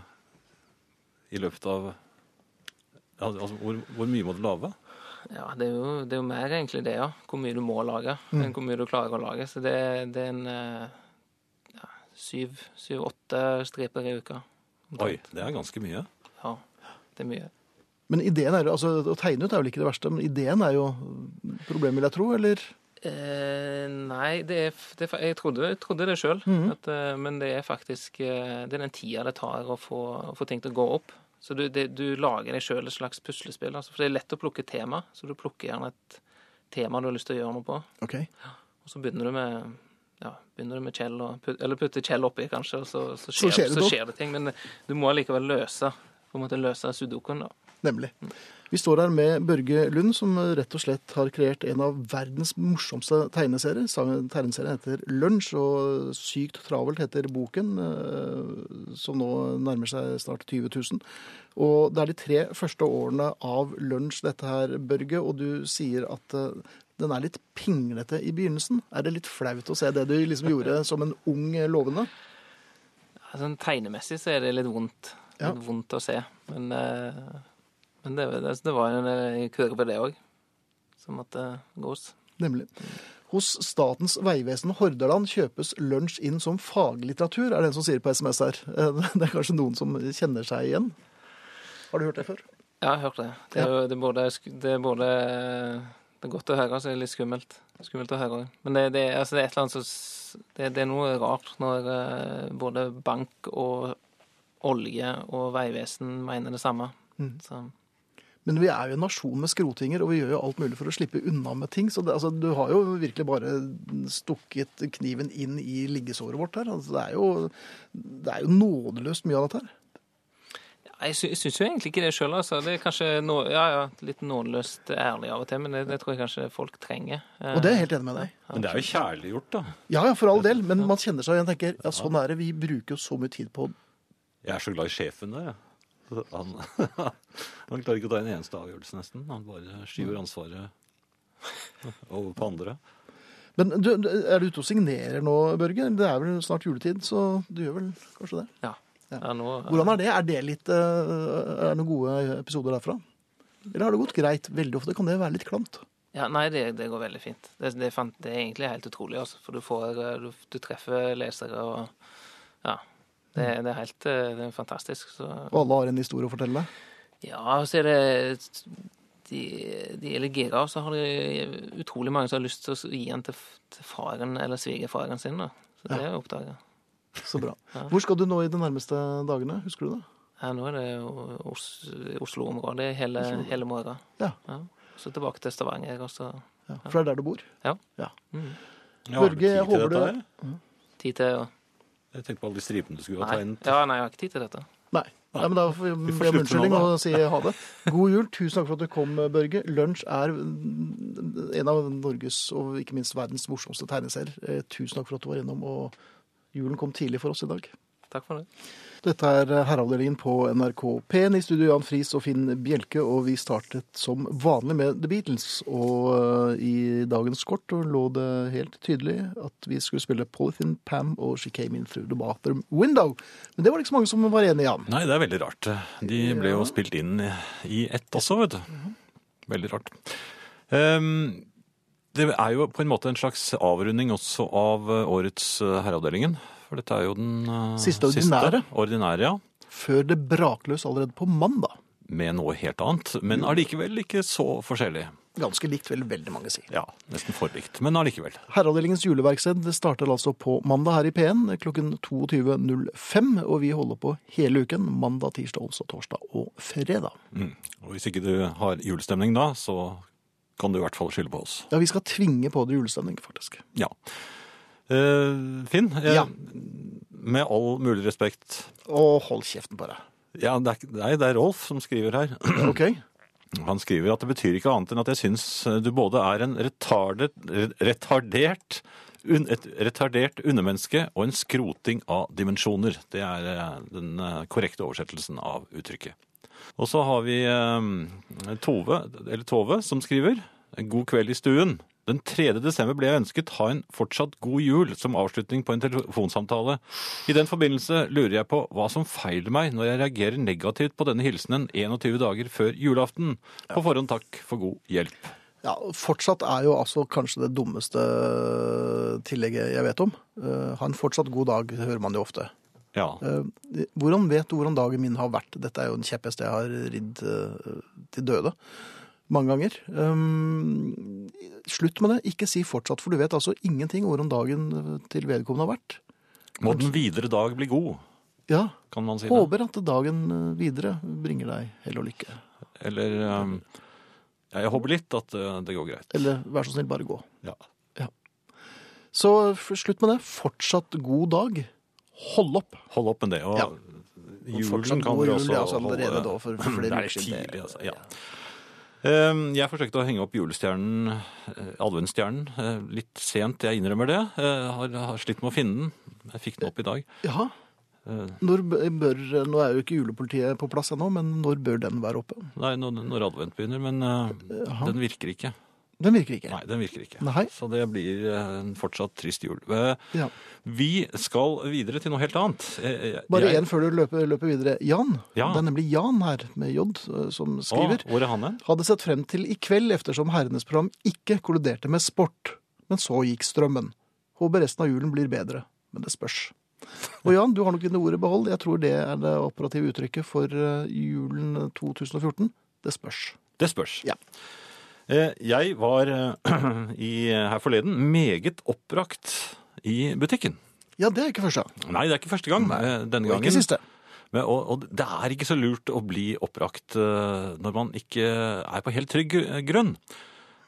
i løpet av Al- Altså, hvor, hvor mye må du lage?
Ja, det er, jo, det er jo mer egentlig det, ja. Hvor mye du må lage,
Mm.
enn hvor mye du klarer å lage. Så det, det er en eh, ja, syv, syv-åtte striper i uka.
Oi, det er ganske mye.
Ja, det er mye.
Men ideen er jo, altså å tegne ut er vel ikke det verste, men ideen er jo problemet, vil jeg tro, eller?
Eh, nei, det er, f- det er, fa- jeg trodde, jeg trodde det sjøl,
Mhm.
men det er faktisk eh, det er den tida det tar å få, å få ting til å gå opp. Så du, det, du lager deg sjøl et slags puslespill. Altså, for det er lett å plukke tema, så du plukker gjerne et tema du har lyst til å gjøre noe på.
Ok.
Og så begynner du med ja, begynner du med Kjell, og put, eller putter Kjell oppi, kanskje, og så, så, skjer,
skjer det
så
noe.
skjer det ting. Men eh, du må allikevel løse på en måte løse sudokuen, da.
Nemlig. Vi står her med Børge Lund, som rett og slett har kreert en av verdens morsomste tegneserier. Sangen- Tegneserien heter Lunsj, og Sykt travelt heter boken, eh, som nå nærmer seg snart 20 000. Og det er de tre første årene av Lunsj dette her, Børge, og du sier at eh, den er litt pinglete i begynnelsen. Er det litt flaut å se det du liksom gjorde som en ung eh, lovende?
Altså, tegnemessig så er det litt vondt.
Ja.
Litt vondt å se. Men, eh, men det, det, det var en eh, kurve, det òg, som måtte gås.
Nemlig. Hos Statens vegvesen Hordaland kjøpes lunsj inn som faglitteratur, er det en som sier på SMS her. [laughs] Det er kanskje noen som kjenner seg igjen. Har du hørt det før?
Ja, jeg har hørt det. Det er, jo- det, er både, sk- det er både eh, Det er godt å høre, og så er det litt skummelt. Skummelt å høre òg. Men det, det, er- altså, det er et eller annet som s- det, det er noe rart når eh, både bank og olje og veivesen mener det samme. Så,
Men vi er jo en nasjon med skrotinger, og vi gjør jo alt mulig for å slippe unna med ting. Så det, altså, du har jo virkelig bare stukket kniven inn i liggesåret vårt her. Altså, det, er jo, det er jo nådeløst mye av dette her.
ja, jeg sy syns jo egentlig ikke det sjøl, altså. Det er kanskje nå, ja, ja, litt nådeløst ærlig av og til, men det, det tror jeg kanskje folk trenger. Eh,
Og det er jeg helt enig med deg.
Men det er jo kjærliggjort, da.
Ja, ja, for all del. Men man kjenner seg igjen og tenker ja, sånn er det. Vi bruker jo så mye tid på
Jeg er så glad i sjefen der, jeg. Han, [laughs] han klarer ikke å ta en eneste avgjørelse, nesten. Han bare skyver ansvaret over på andre.
Men du, du- er du ute og signerer nå, Børge? Det er vel snart juletid, så du gjør vel kanskje det?
Ja. Eh, Ja, nå,
Hvordan er det? Er det litt, eh, er det noen gode episoder derfra? Eller har det gått greit? Veldig ofte kan det være litt klamt.
Ja, nei, det, det går veldig fint. Det, det, fant, det er egentlig helt utrolig, altså. For du får eh, Du, du treffer lesere og Ja. Det,
Mm.
det er helt eh, det er fantastisk. Så
Og alle har en historie å fortelle.
Ja, og så er det De, de er litt gira, og så har de utrolig mange som har lyst til å gi den til, f- til faren eller svigerfaren sin, da. Så det er jo oppdaga.
Så bra. Hvor skal du nå i de nærmeste dagene? Husker du det?
Ja, nå er det jo Os Oslo-området hele, hele morgenen.
Ja.
Ja. Så tilbake til Stavanger, og så
ja. For det er der du bor?
Ja.
ja.
Jeg har
Børge,
ikke tid
jeg
til
håper
dette
du-
her.
tid til å
Jeg tenkte på alle de stripene du skulle ha
Nei.
tegnet.
Ja, nei, jeg har ikke tid til dette.
Nei. Nei, men Da får vi
får
be om
slutte nå,
unnskyldning
da.
og si ha det. God jul. Tusen takk for at du kom, Børge. Lunsj er mm, en av Norges og ikke minst verdens morsomste tegneserier. Eh, Tusen takk for at du var innom, og julen kom tidlig for oss i dag.
Takk for det.
Dette er Herreavdelingen på NRK P1 i studio Jan Friis og Finn Bjelke, og vi startet som vanlig med The Beatles. Og eh, i dagens kort lå det helt tydelig at vi skulle spille Polythene Pam og She Came In Through The Bathroom Window. Men det var det ikke så mange som var enige i, Jan.
Nei, det er veldig rart. De ble jo spilt inn i ett også, vet du.
Mhm.
Veldig rart. Ehm, det er jo på en måte en slags avrunding også av eh, årets eh, Herreavdelingen. For dette er jo den eh,
Siste ordinære.
ordinære, ja.
før det brakløs allerede på mandag.
Med noe helt annet. Men allikevel ikke så forskjellig.
Ganske likt, vil veldig mange si.
Ja, nesten for likt, men allikevel.
Herreavdelingens juleverksted det starter altså på mandag her i P1 klokken 22.05. Og vi holder på hele uken. Mandag, tirsdag, onsdag, torsdag og fredag.
Og hvis ikke du har julestemning da, så kan du i hvert fall skylde på oss.
Ja, vi skal tvinge på det julestemning, faktisk.
Ja. Eh, Finn, eh,
Ja.
med all mulig respekt
Og hold kjeften på deg.
ja, det, er, ikke- nei, det er Rolf som skriver her. [clears throat]
OK?
Han skriver at det betyr ikke annet enn at jeg syns eh, du både er en retardet, re- retardert un, et retardert undermenneske og en skroting av dimensjoner. Det er eh, den eh, korrekte oversettelsen av uttrykket. Og så har vi eh, Tove, eller Tove som skriver God kveld i stuen. Den 3. desember ble jeg ønsket ha en fortsatt god jul som avslutning på en telefonsamtale. I den forbindelse lurer jeg på hva som feiler meg når jeg reagerer negativt på denne hilsenen 21 dager før julaften. På forhånd takk for god hjelp.
Ja, fortsatt er jo altså kanskje det dummeste tillegget jeg vet om. Eh, Ha en fortsatt god dag, det hører man jo ofte.
Ja,
Eh, Hvordan vet du hvordan dagen min har vært? Dette er jo en kjepphest jeg har ridd eh, til døde mange ganger. Um, Slutt med det. Ikke si fortsatt, for du vet altså ingenting hvordan dagen eh, til vedkommende har vært.
Må den videre dag bli god,
Ja,
kan man si det.
Håper at dagen eh, videre bringer deg hell og lykke.
Eller ehm, ja, Jeg håper litt at eh, det går greit.
Eller vær så snill, bare gå.
Ja.
Så f- slutt med det. Fortsatt god dag. Hold opp.
Hold opp med det. Og
Ja.
julen
Fortsatt
kan
god
dere
jul,
også
det er altså allerede da, for
[clears throat]
flere
Det er
uker siden.
tidlig, altså. Ja. Ehm, Jeg forsøkte å henge opp julestjernen, eh, adventsstjernen, eh, litt sent. Jeg innrømmer det. Jeg har, har slitt med å finne den. Jeg fikk den opp i dag.
Ja.
Eh,
Når b- bør, nå er jo ikke julepolitiet på plass ennå, men når bør den være oppe?
Nei, når, når advent begynner, men eh, den virker ikke.
Den virker ikke.
Nei, den virker ikke.
Nei.
Så det blir eh, en fortsatt trist jul. Eh,
Ja.
Vi skal videre til noe helt annet. Eh, eh,
Bare
jeg-
én før du løper, løper videre. Jan.
Ja.
Det er nemlig Jan her, med J, eh, som skriver.
Å, hvor er han hen?
Hadde sett frem til i kveld, eftersom herrenes program ikke kolliderte med sport. Men så gikk strømmen. Håper resten av julen blir bedre. Men det spørs. Og Jan, du har nok dine ord i behold. Jeg tror det er det operative uttrykket for eh, julen 2014. Det spørs.
Det spørs.
Ja.
Eh, Jeg var eh, [clears throat] i, her forleden meget oppbrakt i butikken.
Ja, det er ikke første gang.
Nei, det er ikke første gang. eh, Denne
Og
gangen.
ikke siste.
Men, og, og det er ikke så lurt å bli oppbrakt eh, når man ikke er på helt trygg eh, grunn.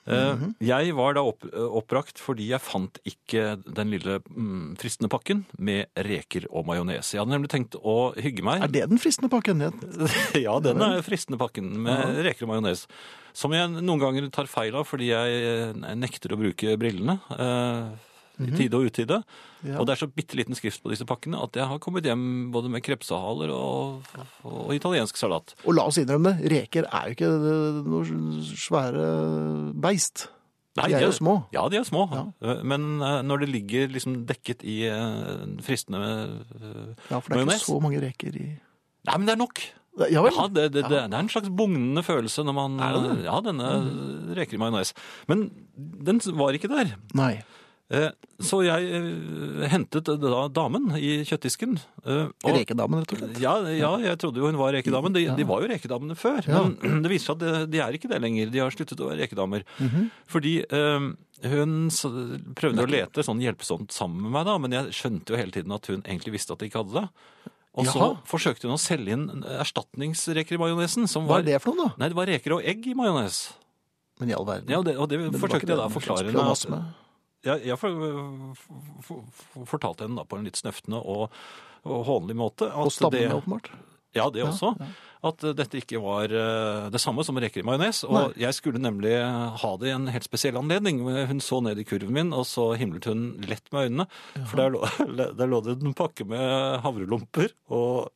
Eh,
Mhm.
Jeg var da opp, eh, oppbrakt fordi jeg fant ikke den lille mm, fristende pakken med reker og majones. Jeg hadde nemlig tenkt å hygge meg.
Er det den fristende pakken? Jeg- [laughs]
ja, den er fristende pakken med reker og majones. Som jeg noen ganger tar feil av fordi jeg eh, nekter å bruke brillene. eh, I tide og utide.
Mhm. Ja.
Og det er så bitte liten skrift på disse pakkene at jeg har kommet hjem både med krepsehaler og, og italiensk salat.
Og la oss innrømme det, reker er jo ikke eh, noe svære beist. De er jo små.
Ja, de er små. Eh, Men eh, når det ligger liksom dekket i eh, fristende eh,
Ja, for det er
Majones?
ikke så mange reker i
Nei, men det er nok!
Ja vel?
Ja, det, det, det, det er en slags bugnende følelse når man Ja, denne
Mhm.
reker i majones. Men den var ikke der.
Nei.
Eh, Så jeg eh, hentet da damen i kjøttdisken. eh, og-
Rekedamen, rett og slett.
Ja, ja, jeg trodde jo hun var rekedamen. De, de var jo rekedamene før.
Ja.
Men [clears throat] det viser seg at de, de er ikke det lenger. De har sluttet å være rekedamer. Fordi eh, hun s- prøvde å lete sånn hjelpsomt sammen med meg, da, men jeg skjønte jo hele tiden at hun egentlig visste at de ikke hadde det. Og så
Jaha.
forsøkte hun å selge inn eh, erstatningsreker i majonesen. som
Hva
var-
er det for noe, da?
Nei, det var reker og egg i majones.
Men i all verden.
Ja, og det, og det
Men det var ikke
forsøkte jeg da å
det man
forklare henne.
spionas
at- jeg, eh, jeg for, for, for, fortalte henne da på en litt snøftende og, og hånlig måte at
Og stammene,
det-
åpenbart.
ja, det også. At eh, dette ikke var eh, det samme som reker i majones. Og jeg skulle nemlig eh, ha det i en helt spesiell anledning. Hun så ned i kurven min, og så himlet hun lett med øynene. For der lå, [laughs] der lå det en pakke med havrelomper og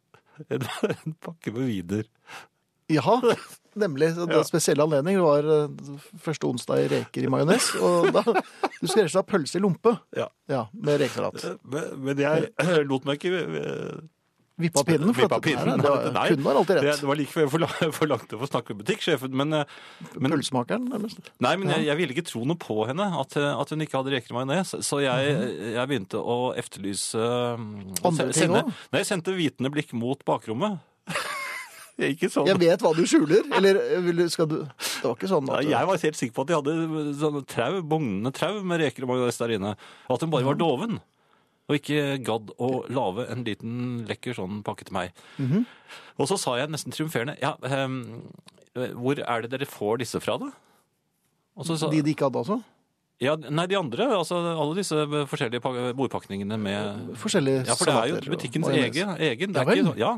en, [laughs] en pakke med wiener. [laughs]
Jaha. Nemlig. så Den spesielle anledningen var eh, første onsdag i reker i majones. Og da Du skulle rett og slett ha pølse i lompe.
Ja.
Ja, med rekesalat.
Men, men jeg eh, [clears throat] lot meg ikke eh,
Vippa pinnen. For
Vippa
at det,
pinnen,
her, det
nei,
var, kunden var alltid
Det,
rett.
det var like før jeg forla- [laughs] forlangte å få snakke med butikksjefen, men, eh, men
Pølsemakeren, nærmest.
Nei, men jeg, jeg ville ikke tro noe på henne, at, at hun ikke hadde reker i majones. Så jeg, jeg begynte å efterlyse mm,
Mhm.
å
Andre
se-
ting
sende-
også?
Nei, jeg sendte vitende blikk mot bakrommet. [laughs] Jeg gikk i sånn.
Jeg vet hva du skjuler. Eller eh, vil du, skal du Det var ikke sånn
Ja,
at
jeg var helt sikker på at de hadde sånne trau, bugnende trau med reker og majones der inne. Og at hun bare var doven. Og ikke gadd å lage en liten lekker sånn pakke til meg.
Mhm.
Og så sa jeg nesten triumferende Ja, ehm, hvor er det dere får disse fra, da? Og så sa
de de ikke hadde, altså.
ja, Nei, de andre. Altså alle disse forskjellige pak- bordpakningene med
Forskjellige
Ja, for det er jo
salater og
butikkens
majones.
egen. egen.
Ja
Det er ikke,
vel.
så- ja.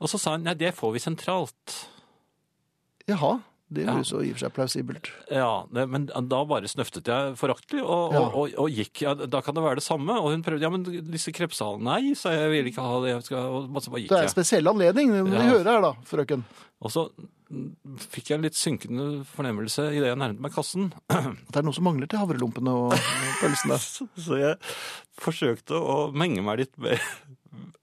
Og så sa hun nei, det får vi sentralt.
Jaha. Det
Ja.
høres jo i og for seg plausibelt.
Ja, det, men da bare snøftet jeg foraktelig og,
Ja.
og, og, og gikk. Ja, da kan det være det samme. Og hun prøvde ja, men disse krepsehalene Nei, sa jeg, jeg vil ikke ha det. Jeg skal, og så bare gikk
Det er en
jeg.
spesiell anledning. Det må vi
Ja.
høre her, da, frøken.
Og så mm, fikk jeg en litt synkende fornemmelse idet jeg nærmet meg kassen.
At det er noe som mangler til havrelumpene og og pølsene.
Så Altså, så jeg forsøkte å menge meg litt med,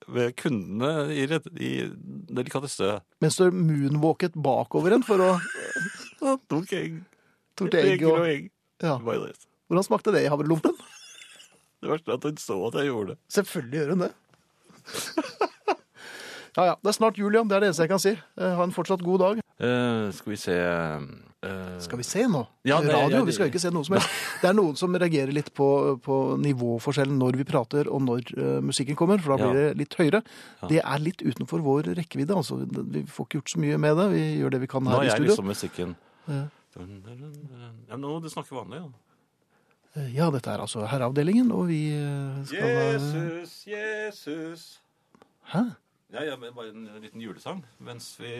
med kundene i, rett- i delikatesse.
Mens du moonwalket bakover en for å
Så tok jeg
torte egg og
egg.
ja.
Majones.
Hvordan smakte det i havrelumpen?
Det verste er at hun så at jeg gjorde det.
Selvfølgelig gjør hun det. [laughs] Ja, ja. Det er snart jul, Jan. Det er det eneste jeg kan si. Eh, Ha en fortsatt god dag.
Eh, skal vi se eh,
Skal vi se nå?
Ja, det-
Radio,
ja, det-
vi skal jo ikke se noe som
[laughs]
helst. Det er noen som reagerer litt på, på nivåforskjellen når vi prater og når eh, musikken kommer, for da
Ja.
blir det litt høyere.
Ja.
Det er litt utenfor vår rekkevidde, altså. Vi får ikke gjort så mye med det. Vi gjør det vi kan
Nå
her
er
i
jeg
studio.
liksom musikken.
Ja.
Dun, dun, dun, dun. Ja, nå du snakker vanlig, ja.
Ja, dette er altså herreavdelingen, og vi eh, skal eh,
Jesus.
Hæ?
Ja, ja, men bare en liten julesang mens vi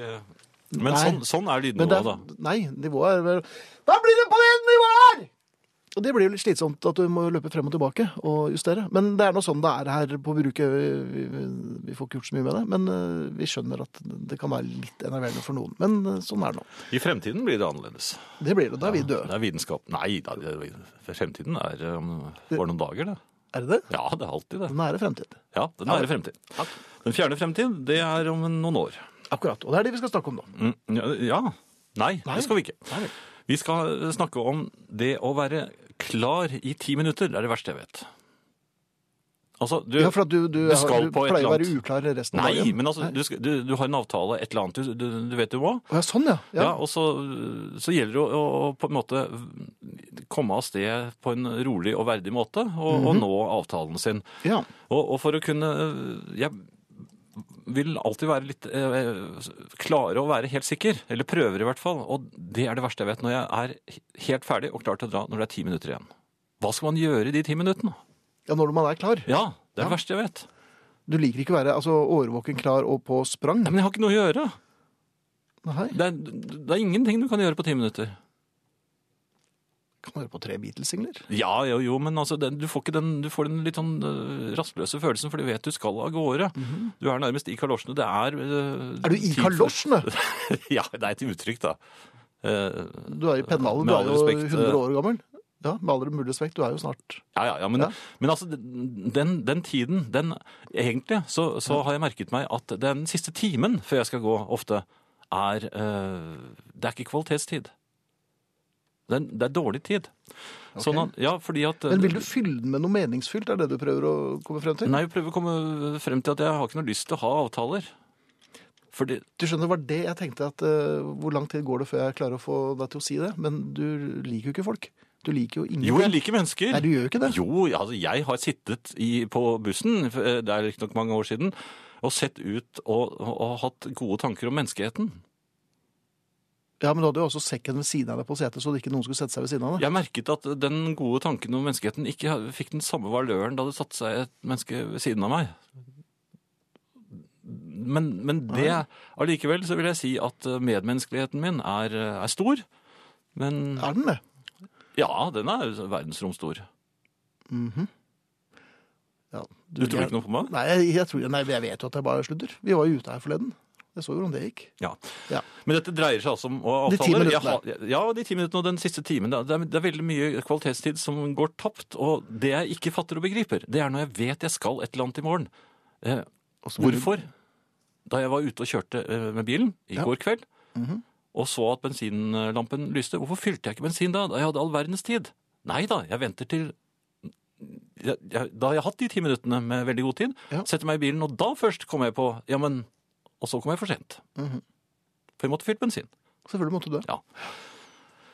Nei.
Men sånn, sånn er
Men det
lydnivået, da.
er, nei, nivået er vel Da blir det på det nivået her! Og det blir jo litt slitsomt at du må løpe frem og tilbake og justere. Men det er nå sånn det er her på bruket. Vi, vi, vi får ikke gjort så mye med det, men eh, vi skjønner at det kan være litt enerverende for noen. Men eh, sånn er det nå.
I fremtiden blir det annerledes.
Det blir det. Da er vi
Det
døde.
er vitenskap Nei da, det- for fremtiden er um, bare noen dager, det.
Er det det?
Ja, det er alltid det.
Den nære fremtid.
Ja, Den nære fremtid. Den fjerne fremtid, det er om noen år.
Akkurat. Og det er det vi skal snakke om nå.
Mm, ja, Ja. Nei,
Nei.
det skal vi ikke.
Nei.
Vi skal eh, snakke om det å være klar i ti minutter. Det er det verste jeg vet. Altså, du,
Ja, for at du, du,
Du
har-
skal
du
på et
pleier å
eller
være
annet.
uklar resten av
Nei,
dagen.
men altså, du, skal, du, du har en avtale, et eller annet du, du, du vet du må.
Å, ja, sånn, ja.
Ja.
ja.
og så, så gjelder det å, å på en måte komme av sted på en rolig og verdig måte, og,
Mhm.
og nå avtalen sin.
ja.
Og, og for å kunne eh, Jeg vil alltid være litt eh, klare og være helt sikker, eller prøver i hvert fall. Og det er det verste jeg vet, når jeg er helt ferdig og klar til å dra når det er ti minutter igjen. Hva skal man gjøre i de ti minuttene?
ja, når man er klar.
Ja, det er det
Ja.
verste jeg vet.
Du liker ikke å være altså, årvåken, klar og på sprang.
Nei, men jeg har ikke noe å gjøre.
Nei.
Det er, det er ingenting du kan gjøre på ti minutter.
Kan høre på tre Beatles-singler.
Ja, jo, jo, men altså, den, du, får ikke den, du får den litt sånn øh, rastløse følelsen, for du vet du skal av gårde. Du er nærmest i kalosjene. Det er øh,
Er du i
Mhm. tid for-
kalosjene?
[laughs] ja, det er et uttrykk, da. Eh,
Du er i pennalen, du
Med
er
all
jo
respekt,
100
eh,
år gammel. Ja, med all mulig respekt, du er jo snart
ja, ja, ja, men,
Ja.
men altså, den, den tiden, den Egentlig så, så har jeg merket meg at den siste timen før jeg skal gå, ofte er øh, Det er ikke kvalitetstid. Den, det er dårlig tid. Sånn at, ja, fordi at
Men vil du fylle den med noe meningsfylt, er det du prøver å komme frem til?
Nei, jeg prøver å komme frem til at jeg har ikke noe lyst til å ha avtaler. Fordi,
Du skjønner, det var det jeg tenkte, at eh, hvor lang tid går det før jeg klarer å få deg til å si det? Men du liker jo ikke folk. Du liker jo ingen.
jo, jeg liker mennesker.
Nei, du gjør jo ikke det.
Jo, altså, jeg har sittet i, på bussen, eh, det er riktignok mange år siden, og sett ut og, og, og hatt gode tanker om menneskeheten.
Ja, men du hadde jo også sekken ved siden av deg på setet, så det ikke noen skulle sette seg ved siden av deg.
Jeg merket at den gode tanken om menneskeheten ikke fikk den samme valøren da det satte seg et menneske ved siden av meg. Men, men det allikevel så vil jeg si at eh, medmenneskeligheten min er, eh, er stor. Men
Er den det?
ja, den er verdensromstor.
Mhm. Ja.
Du tror ikke noe på meg?
Nei, jeg, jeg, tror, nei, jeg vet jo at jeg bare sludder. Vi var jo ute her forleden. Jeg så jo hvordan det gikk.
Ja.
Ja.
Men dette dreier seg altså om å
De
avtaler.
ti
Jeg
minuttene.
har- ja, de ti minuttene og den siste timen. Det er, det er veldig mye kvalitetstid som går tapt. Og det jeg ikke fatter og begriper, det er når jeg vet jeg skal et eller annet i morgen. Eh,
Og så-
hvorfor? Da jeg var ute og kjørte eh, med bilen i
Ja. Mhm.
går kveld, og så at bensinlampen lyste, hvorfor fylte jeg ikke bensin da? Da jeg hadde all verdens tid. Nei da, jeg venter til jeg, jeg, Da har jeg hatt de ti minuttene med veldig god tid,
Ja.
setter meg i bilen, og da først kommer jeg på Ja,
Mhm.
men Og så kom jeg for sent. For jeg måtte fylt bensin.
Selvfølgelig måtte du det.
Ja.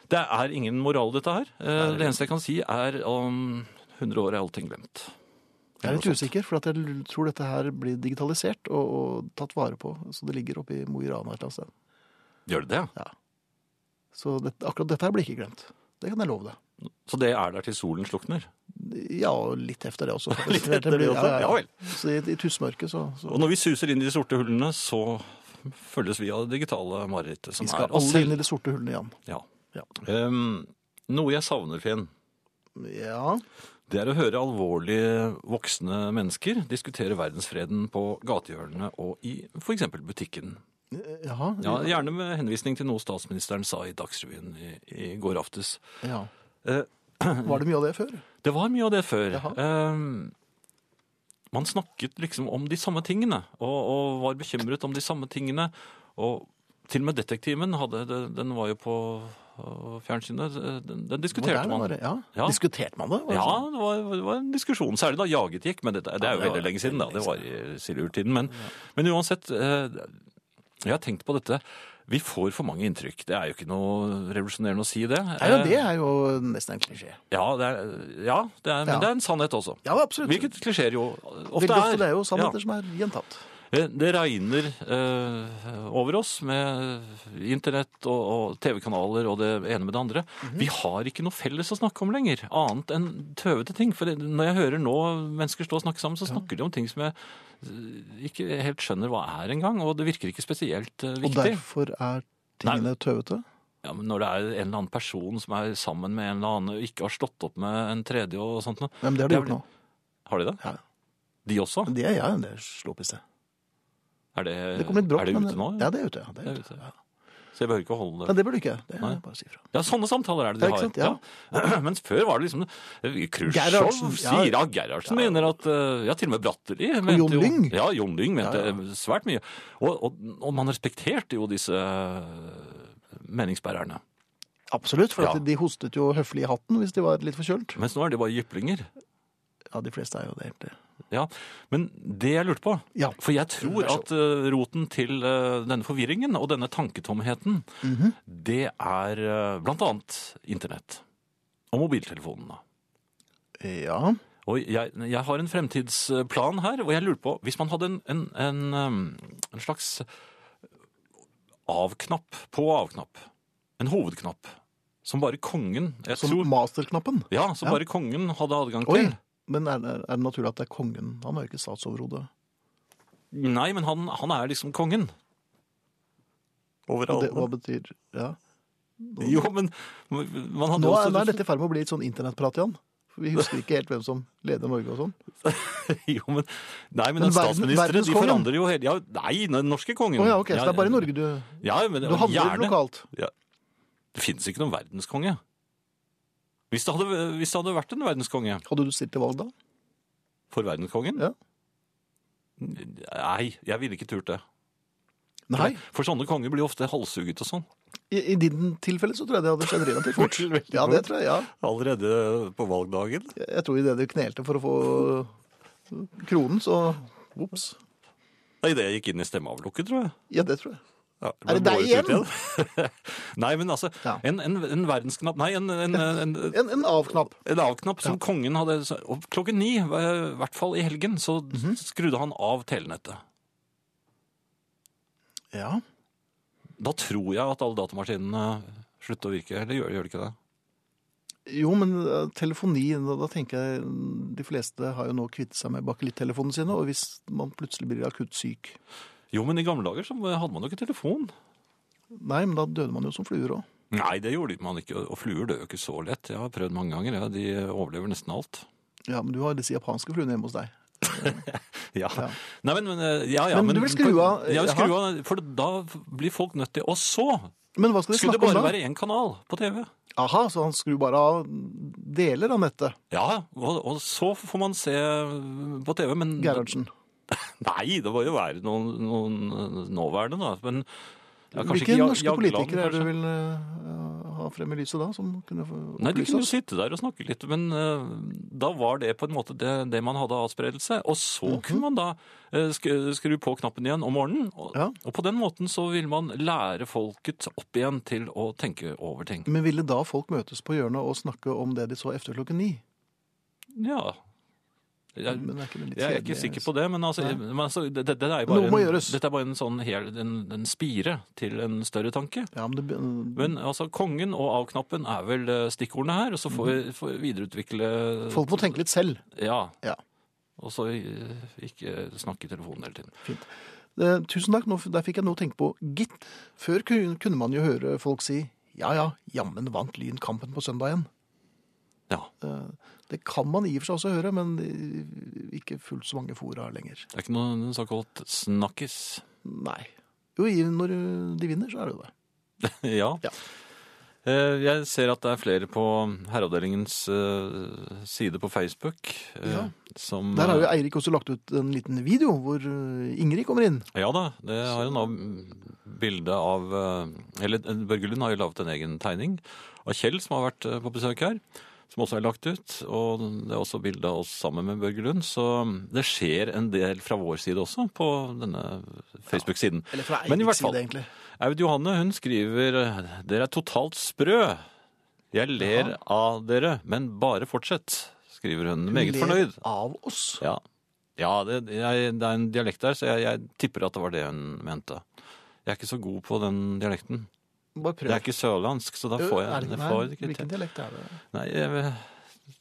Det er ingen moral, dette her. Eh, Det eneste jeg kan si, er om 100 år er allting glemt.
Jeg er litt usikker, for at jeg l- tror dette her blir digitalisert og, og tatt vare på. Så det ligger oppe i Mo i Rana et eller annet sted.
Gjør det det? ja?
Så det, akkurat dette her blir ikke glemt. Det kan jeg love deg.
Så det er der til solen slukner?
Ja, og litt efter det også.
Litt etter det også? Ja vel.
Så i, i tussmørket så,
Og
så
når vi suser inn i de sorte hullene, så følges vi av det digitale marerittet som
Vi skal
er oss
alle inn
selv.
i de sorte hullene igjen.
Ja.
Ja.
Ehm, noe jeg savner, Finn,
ja.
det er å høre alvorlige voksne mennesker diskutere verdensfreden på gatehjørnene og i f.eks. butikken.
Jaha.
Ja, Gjerne med henvisning til noe statsministeren sa i Dagsrevyen i, i går aftes.
Ja.
Eh, [clears throat]
Var det mye av det før?
Det var mye av det før.
Jaha.
Ehm, man snakket liksom om de samme tingene, og, og var bekymret om de samme tingene. Og til og med Detektimen hadde det- Den var jo på øh, fjernsynet. Den, den
Var
diskuterte
det
man.
det? Ja.
Ja.
Diskuterte man det? Var det
Ja,
sånn?
det var, det var en diskusjon, særlig da jaget gikk. Men det, det er jo
det var
veldig lenge siden, da.
veldig
Det var i silurtiden. Men, men uansett, eh, jeg har tenkt på dette. Vi får for mange inntrykk. Det er jo ikke noe revolusjonerende å si det.
Nei, ja,
Eh,
det er jo nesten en klisjé.
Ja, det er, ja, det er, men
Ja.
det er en sannhet også.
Ja, absolutt.
Hvilket klisjeer jo
Veldig
ofte er.
ofte det er jo sannheter
Ja.
som er gjentatt.
Eh, Det regner eh, over oss med internett og, og TV-kanaler og det ene med det andre.
Mhm.
Vi har ikke noe felles å snakke om lenger, annet enn tøvete ting. For det- når jeg hører nå mennesker stå og snakke sammen, så snakker de om ting som jeg eh, ikke helt skjønner hva er engang, og det virker ikke spesielt eh,
Og
viktig.
derfor er tingene tøvete.
Ja, men når det er en eller annen person som er sammen med en eller annen og ikke har slått opp med en tredje og sånt noe.
Ja, men det har de
Det er
gjort nå.
Har de det?
Ja.
De også?
Men Det er jeg, det slo opp i sted.
Er det,
Det kom litt brått.
Eh, er det
men-
ute nå?
Ja, det er ute. Ja, det,
Det
er
er
ute.
ute.
Ja.
Så jeg behøver ikke å holde
Nei, det burde du ikke. Det er
Nei.
bare å si ifra.
Ja, sånne samtaler er det de
Ja, ikke sant? Ja.
har. Ja. [clears throat] Mens før var det liksom eh, Khrusjtsjov
Gerhardsen, ja.
sier ja, Gerhardsen mener at eh, Ja, til og med Bratteli mente
Jon
jo-
Lyng.
Ja, Jon Lyng mente
Ja, ja.
eh, svært mye. Og, og, og man respekterte jo disse eh, meningsbærerne.
Absolutt, for
Ja.
at de hostet jo høflig i hatten hvis de var litt forkjølt.
Mens nå er de bare jyplinger.
Ja, de fleste er jo det, egentlig.
Ja, Men det jeg lurte på
Ja.
For jeg tror
Vær så
at eh, roten til eh, denne forvirringen og denne tanketomheten, det er eh, blant annet internett. Og mobiltelefonene.
Ja.
Og jeg, jeg har en fremtidsplan her, og jeg lurer på Hvis man hadde en, en, en, um, en slags av-knapp på av-knapp, en hovedknapp, som bare kongen jeg
Som
tror,
masterknappen.
Ja, som
Ja.
bare kongen hadde adgang
Oi!
til.
Men er, er det naturlig at det er kongen? Han er jo ikke statsoverhode.
Nei, men han, han er liksom kongen.
Og
Overalt.
det- Hva betyr ja.
Jo, men man
Nå
hadde jo
er,
også
nå er dette i ferd med å bli et sånn internettprat igjen. For Vi husker ikke helt hvem som leder Norge og sånn.
[laughs] Jo, men Nei,
Men
men,
verden-
men statsministre de
verdenskongen?
forandrer jo hele ja, Nei, den norske kongen.
Å ja, ok, Så det er bare i Norge du
Ja, men,
Du handler
gjerne.
lokalt.
Det finnes ikke noen verdenskonge. Hvis det hadde, hvis det hadde vært en verdenskonge
Hadde du stilt til valg da?
for verdenskongen
Ja.
Nei, jeg ville ikke turt det.
Nei.
For sånne konger blir ofte halshugget og sånn.
I, i din tilfelle så tror jeg det hadde skjedd relativt [laughs] fort.
Veldig, veldig
Ja, det tror jeg, ja.
Allerede på valgdagen.
Jeg tror idet du knelte for å få kronen, så Ops.
Nei, det jeg gikk inn i stemmeavlukket, tror jeg.
Ja, det tror jeg.
Ja,
Er det
ble
deg
båret ut igjen. [laughs] nei, men altså,
Ja.
en, en, en verdensknapp Nei, en, en, en, en,
En, en avknapp.
en avknapp som kongen hadde og Klokken ni, eh, i hvert fall i helgen, så
Mhm.
skrudde han av telenettet.
Ja.
Da tror jeg at alle datamaskinene slutter å virke. Eller gjør, gjør de ikke det?
Jo, men eh, telefoni da, da tenker jeg mm, De fleste har jo nå kvittet seg med bakelittelefonene sine, og hvis man plutselig blir akutt syk
Jo, men i gamle dager så hadde man jo ikke telefon.
Nei, men da døde man jo som fluer òg.
Nei, det gjorde man ikke. Og fluer dør jo ikke så lett. Jeg har prøvd mange ganger. Ja. De overlever nesten alt.
Ja, men du har disse japanske fluene hjemme hos deg.
Ja. Nei, men, men, eh, ja, ja,
Men du vil skru av, eh,
Jeg vil
jaha.
skru av, for da blir folk nødt til Og så
Men hva skal de
skulle det
snakke om
bare
da?
være én kanal på TV.
Aha, så han skrur bare av deler av nettet,
Ja, og, og så får man se eh, på TV, men
Gerhardsen.
Nei, det må jo være noen, noen nåværende, da. Men ja, kanskje
Hvilke
Ja-
norske
Jagland,
politikere er det
kanskje?
du vil eh, ha frem i lyset da? Som kunne få
Nei, de
opplyse
kunne jo
oss?
sitte der og snakke litt, men eh, da var det på en måte det, det man hadde av adspredelse. Og så
Mhm.
kunne man da eh, sk- skru på knappen igjen om morgenen, og,
Ja.
og på den måten så ville man lære folket opp igjen til å tenke over ting.
Men ville da folk møtes på hjørnet og snakke om det de så efter klokken ni?
Ja. Jeg,
Men er ikke det litt
jeg er ikke
kjedelig?
sikker på det, men, altså,
Nei.
men altså, det, det, det er jo bare
Noe må
en,
gjøres.
Dette er bare en sånn hel, en, en spire til en større tanke.
Ja, men det,
Men altså, kongen og av-knappen er vel eh, stikkordene her, og så får vi får vi videreutvikle
Mm. folk må tenke litt selv.
Ja.
Ja.
Og så eh, ikke snakke i telefonen hele tiden.
Eh, tusen takk, nå, der fikk jeg noe å tenke på. Gitt. Før ku- kunne man jo høre folk si ja ja, jammen vant Lyn kampen på søndagen.
Ja.
Eh, det kan man i og for seg også høre, men eh, ikke fullt så mange fora lenger.
Det er ikke noen såkalt snakkis. [laughs]
Nei. Jo, i- når eh, de vinner, så er det jo det.
ja.
Ja.
Eh, Jeg ser at det er flere på Herreavdelingens eh, side på Facebook eh,
Ja.
som
Der har jo
eh,
Eirik også lagt ut en liten video hvor eh, Ingrid kommer inn.
Ja da, det har hun av bilde av eh, Eller eh, Børge Lund har jo laget en egen tegning av Kjell, som har vært eh, på besøk her. Som også er lagt ut. Og det er også bilde av oss sammen med Børge Lund. Så det skjer en del fra vår side også på denne Facebook-siden.
Eller fra
Men i hvert
Eiriks
fall-
side, egentlig.
Aud Johanne hun skriver Dere er totalt sprø. Jeg ler av dere, men bare fortsett, skriver hun. Meget
Ler
fornøyd.
Av oss.
Ja, ja det, jeg, det er en dialekt der, så jeg, jeg tipper at det var det hun mente. Jeg er ikke så god på den dialekten.
Bare prøv.
Jeg er ikke sørlandsk, så da får
Er
jeg,
det-
jeg
nei,
får det ikke
Hvilken
til.
dialekt er det?
Nei, jeg,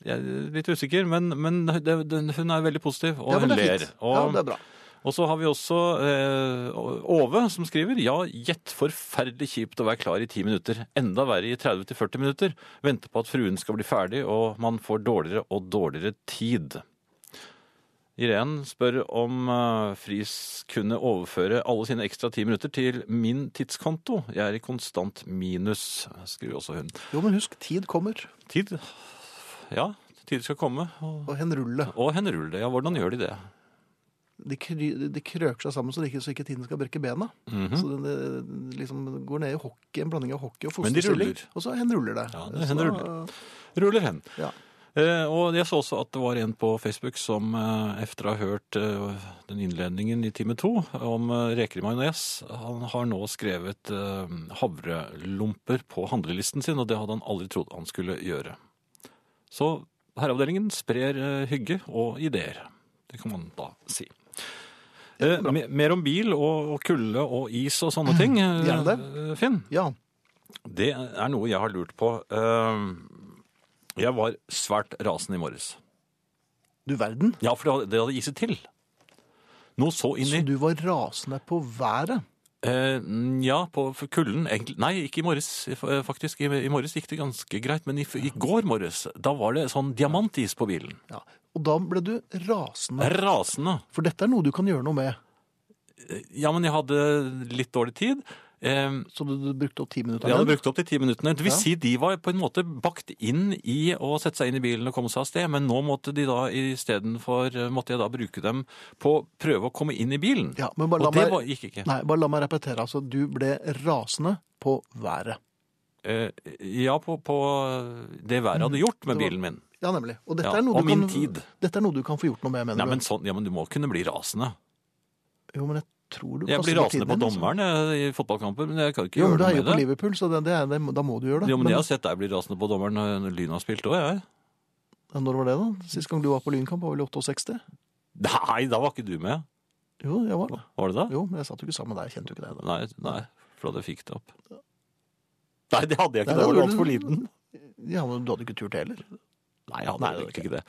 jeg er litt usikker, men, men det, den- hun er veldig positiv, og
Ja, men
hun
det er
ler.
fint.
Og,
Ja, det er bra.
og så har vi også eh, Ove som skriver Ja, gjett forferdelig kjipt å være klar i 10 minutter. Enda verre i 30-40 minutter. Vente på at fruen skal bli ferdig, og man får dårligere og dårligere tid. Irén spør om eh, Friis kunne overføre alle sine ekstra ti minutter til min tidskonto. Jeg er i konstant minus, skriver også hun.
Jo, men husk, tid kommer.
Tid? Ja, tid skal komme. Og,
Og hen rulle.
og henne ruller det. Ja, hvordan gjør de det?
De, kry, de krøker seg sammen så, de ikke, så ikke tiden skal brekke bena.
Mhm.
Så den eh, liksom går ned i hockey, en blanding av hockey og
Men de
fosterstilling.
ruller.
Og så hen ruller det.
Ja, det-
Så
hen
da-
ruller. Ruller hen.
Ja.
Eh, og jeg så også at det var en på Facebook som eh, efter å ha hørt eh, den innledningen i time to om eh, reker i majones, han har nå skrevet eh, havrelomper på handlelisten sin, og det hadde han aldri trodd han skulle gjøre. Så herreavdelingen sprer eh, hygge og ideer. Det kan man da si. Eh, me- mer om bil og, og kulde og is
[clears throat]
og sånne ting, eh,
Gjerne
Finn.
Ja.
Det er noe jeg har lurt på. Eh, Jeg var svært rasende i morges.
Du verden.
Ja, for det hadde- det hadde iset til. Noe så
Så
inni
du var rasende på været.
eh, Ja, på for kulden egentlig. Nei, ikke i morges, eh, faktisk. I, i morges gikk det ganske greit. Men i, f- i går morges, da var det sånn diamantis på bilen.
Ja. Og da ble du rasende.
Rasende. Eh,
For dette er noe du kan gjøre noe med.
Ja, men jeg hadde litt dårlig tid. Eh,
Så du, du brukte opp ti minutter.
Jeg hadde
igjen.
brukt opp de ti minuttene. Det vil
Ja.
si de var på en måte bakt inn i å sette seg inn i bilen og komme seg av sted, men nå måtte de da istedenfor eh, måtte jeg da bruke dem på å prøve å komme inn i bilen.
Ja, men bare la
og det
meg-
var, gikk ikke.
Nei, bare la meg repetere. Altså, du ble rasende på været.
Eh, ja, på, på det været jeg hadde gjort med
Det var-
bilen min.
Ja, nemlig. Og dette,
Ja,
er noe
og
du kan,
min tid.
dette er noe du kan få gjort noe med, mener
Nei,
du?
men sånn, ja, men du må kunne bli rasende.
Jo, men jeg tror du
Jeg
kaster
blir
bort
rasende
tiden
på
din, altså.
dommeren jeg, i fotballkamper, men jeg kan ikke
Jo, men
gjøre
du
noe
heier
med
på
det.
Liverpool, så det, det, det, da må du gjøre det.
Jo, men
Men
jeg har sett deg bli rasende på dommeren når Lyn har spilt òg, jeg.
Når var det, da? Sist gang du var på Lynkamp, var vel 68?
Nei, da var ikke du med.
Jo, jeg var det.
Var det det?
Jo, men jeg satt jo ikke sammen med deg. Jeg kjente jo ikke deg da.
Nei, nei, for da hadde jeg fikk det opp. Nei, det hadde jeg
Nei,
ikke.
det
Da var du
hadde
altfor
du-
liten.
Ja, men Du hadde ikke turt det heller.
Nei, jeg hadde
Nei,
ikke det.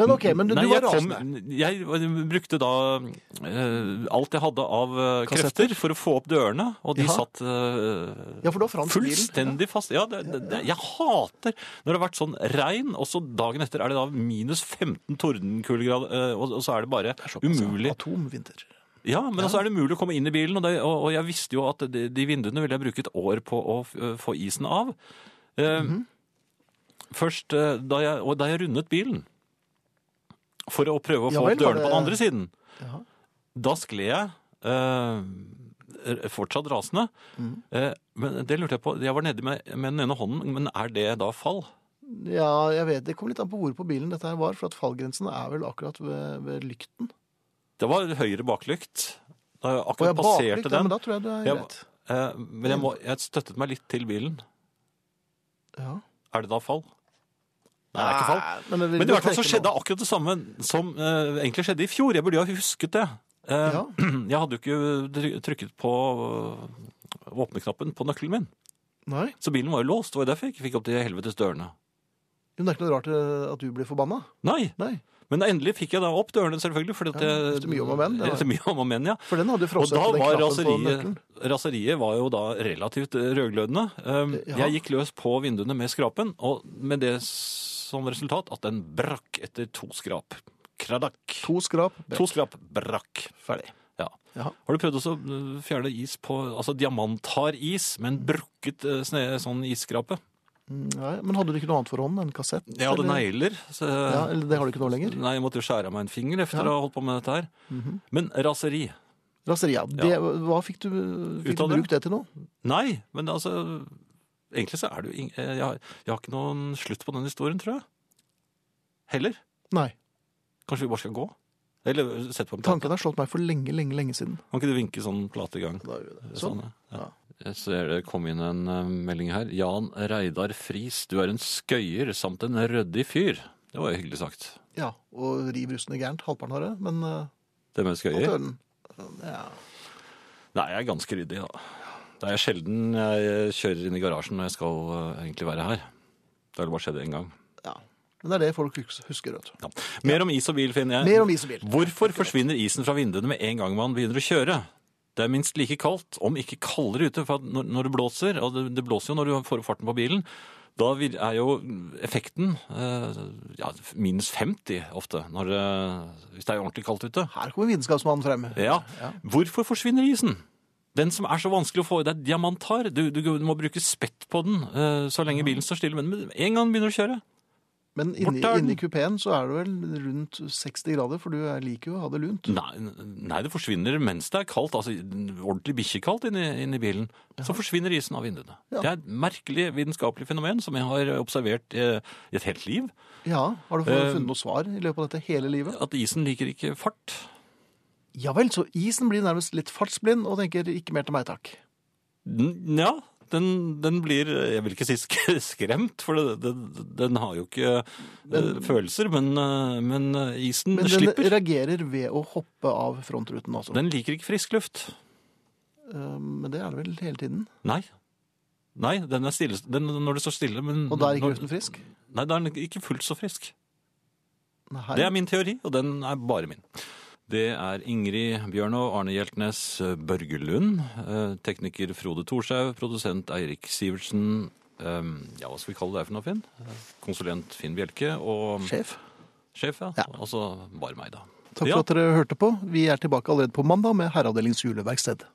Men OK, men du,
Nei,
du var
jeg kom-
rasende.
Jeg brukte da eh, alt jeg hadde av eh,
Kassetter?
krefter for å få opp dørene, og de
Jaha.
satt eh,
Ja, for du har fransk bil.
fullstendig fast. Ja, det, det, det, jeg hater når det har vært sånn regn, og så dagen etter er det da minus 15 tordenkulegrad, eh, og, og så er det bare umulig.
Atomvinter.
Ja, men altså er det mulig å komme inn i bilen, og, det, og, og jeg visste jo at de, de vinduene ville jeg bruke et år på å f- øh, få isen av. Eh,
Mhm.
Først eh, da jeg, og da jeg rundet bilen, for å prøve å
Ja
få
vel,
opp
var
dørene på
det-
den andre siden,
Jaha.
da skled jeg eh, eh, fortsatt rasende.
Mhm.
Eh, Men det lurte jeg på. Jeg var nedi med, med den ene hånden, men er det da fall?
Ja, jeg vet Det kommer litt an på hvor på bilen dette her var, for at fallgrensen er vel akkurat ved, ved lykten.
Det var høyre baklykt. Da jeg
Og
akkurat
jeg
passerte
baklykt, ja, men
den.
da tror jeg det er
Jeg-
greit.
eh, Men jeg, må, jeg støttet meg litt til bilen.
Ja.
Er det da fall? Nei, det er ikke fall.
men, det vil
Men i
jo
hvert fall så
trekke
skjedde
noe.
akkurat det samme som eh, egentlig skjedde i fjor. Jeg burde jo ha husket det. Eh,
Ja.
[clears throat] Jeg hadde jo ikke try- trykket på eh, våpneknappen på nøkkelen min.
Nei,
Så bilen var jo låst. Det var jo derfor jeg ikke fikk opp de helvetes dørene.
men Det er ikke noe rart eh, at du blir forbanna.
Nei,
Nei,
Men endelig fikk jeg da opp dørene, selvfølgelig. Fordi at
Ja,
jeg-
etter mye om og men,
[laughs]
det var-
Etter mye om og men, ja.
For den hadde jo
Og
frosset
da
den
var
knappen på nøkkelen.
raseriet, raseriet var jo da relativt eh, rødglødende. Um,
Ja.
Jeg gikk løs på vinduene med skrapen, og med det som resultat at den brakk etter to skrap. Kradakk.
To skrap.
To skrap brakk.
Ferdig.
Ja.
Ja.
Har du prøvd også å eh, fjerne is på Altså diamanthard is, men brukket eh, sne, sånn isskrape?
Mm, Nei, men hadde du ikke noe annet for hånden enn kassett?
Jeg hadde
eller?
negler. så-
Ja, eller det har du ikke nå lenger?
Nei, jeg måtte jo skjære av meg en finger etter
Ja.
å ha holdt på med dette her. Men raseri
Raseri, ja. Det, hva fikk du, fikk
Ut
du
av det?
brukt det til nå?
Nei, men altså Egentlig så er det jo ing- eh, jeg, har- jeg har ikke noen slutt på den historien, tror jeg. Heller.
Nei.
Kanskje vi bare skal gå? Eller sette på en plate.
Tanken har slått meg for lenge, lenge, lenge siden.
Kan ikke du vinke sånn plate i gang?
Da gjør vi det. Sånn.
Sånn. ja. Jeg ser det kom inn en eh, melding her. Jan Reidar Friis, du er en skøyer samt en ryddig fyr. Det var jo hyggelig sagt.
Ja, og riv russene gærent. Halvparten har det, men uh,
Det med
alt i
skøyer?
orden. Ja.
Nei, jeg er ganske ryddig, da. Det er sjelden jeg eh, kjører inn i garasjen når jeg skal eh, egentlig være her. Det har bare skjedd én gang.
ja. Men det er det folk hus- husker, vet du.
Ja. Mer om is og bil finner jeg.
Mer om is og bil.
Hvorfor forsvinner isen fra vinduene med en gang man begynner å kjøre? Det er minst like kaldt, om ikke kaldere ute, for at når, når det blåser, og det, det blåser jo når du får opp farten på bilen, da vir- er jo effekten eh, ja, minus 50 ofte, når, eh, hvis det er ordentlig kaldt ute.
Her kommer vitenskapsmannen frem.
Ja. Hvorfor forsvinner isen? Den som er så vanskelig å få i deg, diamantar. Du, du må bruke spett på den eh, så lenge bilen står stille, men med en gang den begynner å kjøre.
Men inni,
Bort er den.
inni kupeen så er det vel rundt 60 grader, for du er- liker jo å ha det lunt.
Nei, nei, det forsvinner mens det er kaldt, altså ordentlig bikkjekaldt inni, inni bilen. Så forsvinner isen av vinduene.
Ja.
Det er et merkelig vitenskapelig fenomen som jeg har observert eh, i et helt liv.
Ja, Har du
Eh,
funnet noe svar i løpet av dette hele livet?
At isen liker ikke fart.
Ja vel, så isen blir nærmest litt fartsblind og tenker ikke mer til meg, takk.
N- Ja, den, den blir, jeg vil ikke si sk skremt, for det, det, den har jo ikke eh, følelser, men, eh, men eh, isen
Men den
slipper.
reagerer ved å hoppe av frontruten, altså.
Den liker ikke frisk luft.
Eh, Men det er det vel hele tiden.
Nei. Nei, den er stille, den, når det står stille, men...
Og da er ikke
Mm, når-
luften frisk?
Nei, da er den ikke fullt så frisk.
Nei.
Det er min teori, og den er bare min. Det er Ingrid Bjørnå, Arne Hjeltnes, Børge Lund, eh, tekniker Frode Thorshaug, produsent Eirik Sivertsen, eh, ja, hva skal vi kalle det for noe, Finn? Eh, Konsulent Finn Bjelke, og
Sjef.
sjef, ja.
Ja.
Og så bare meg, da.
Takk
Ja.
for at dere hørte på. Vi er tilbake allerede på mandag med Herreavdelingens juleverksted.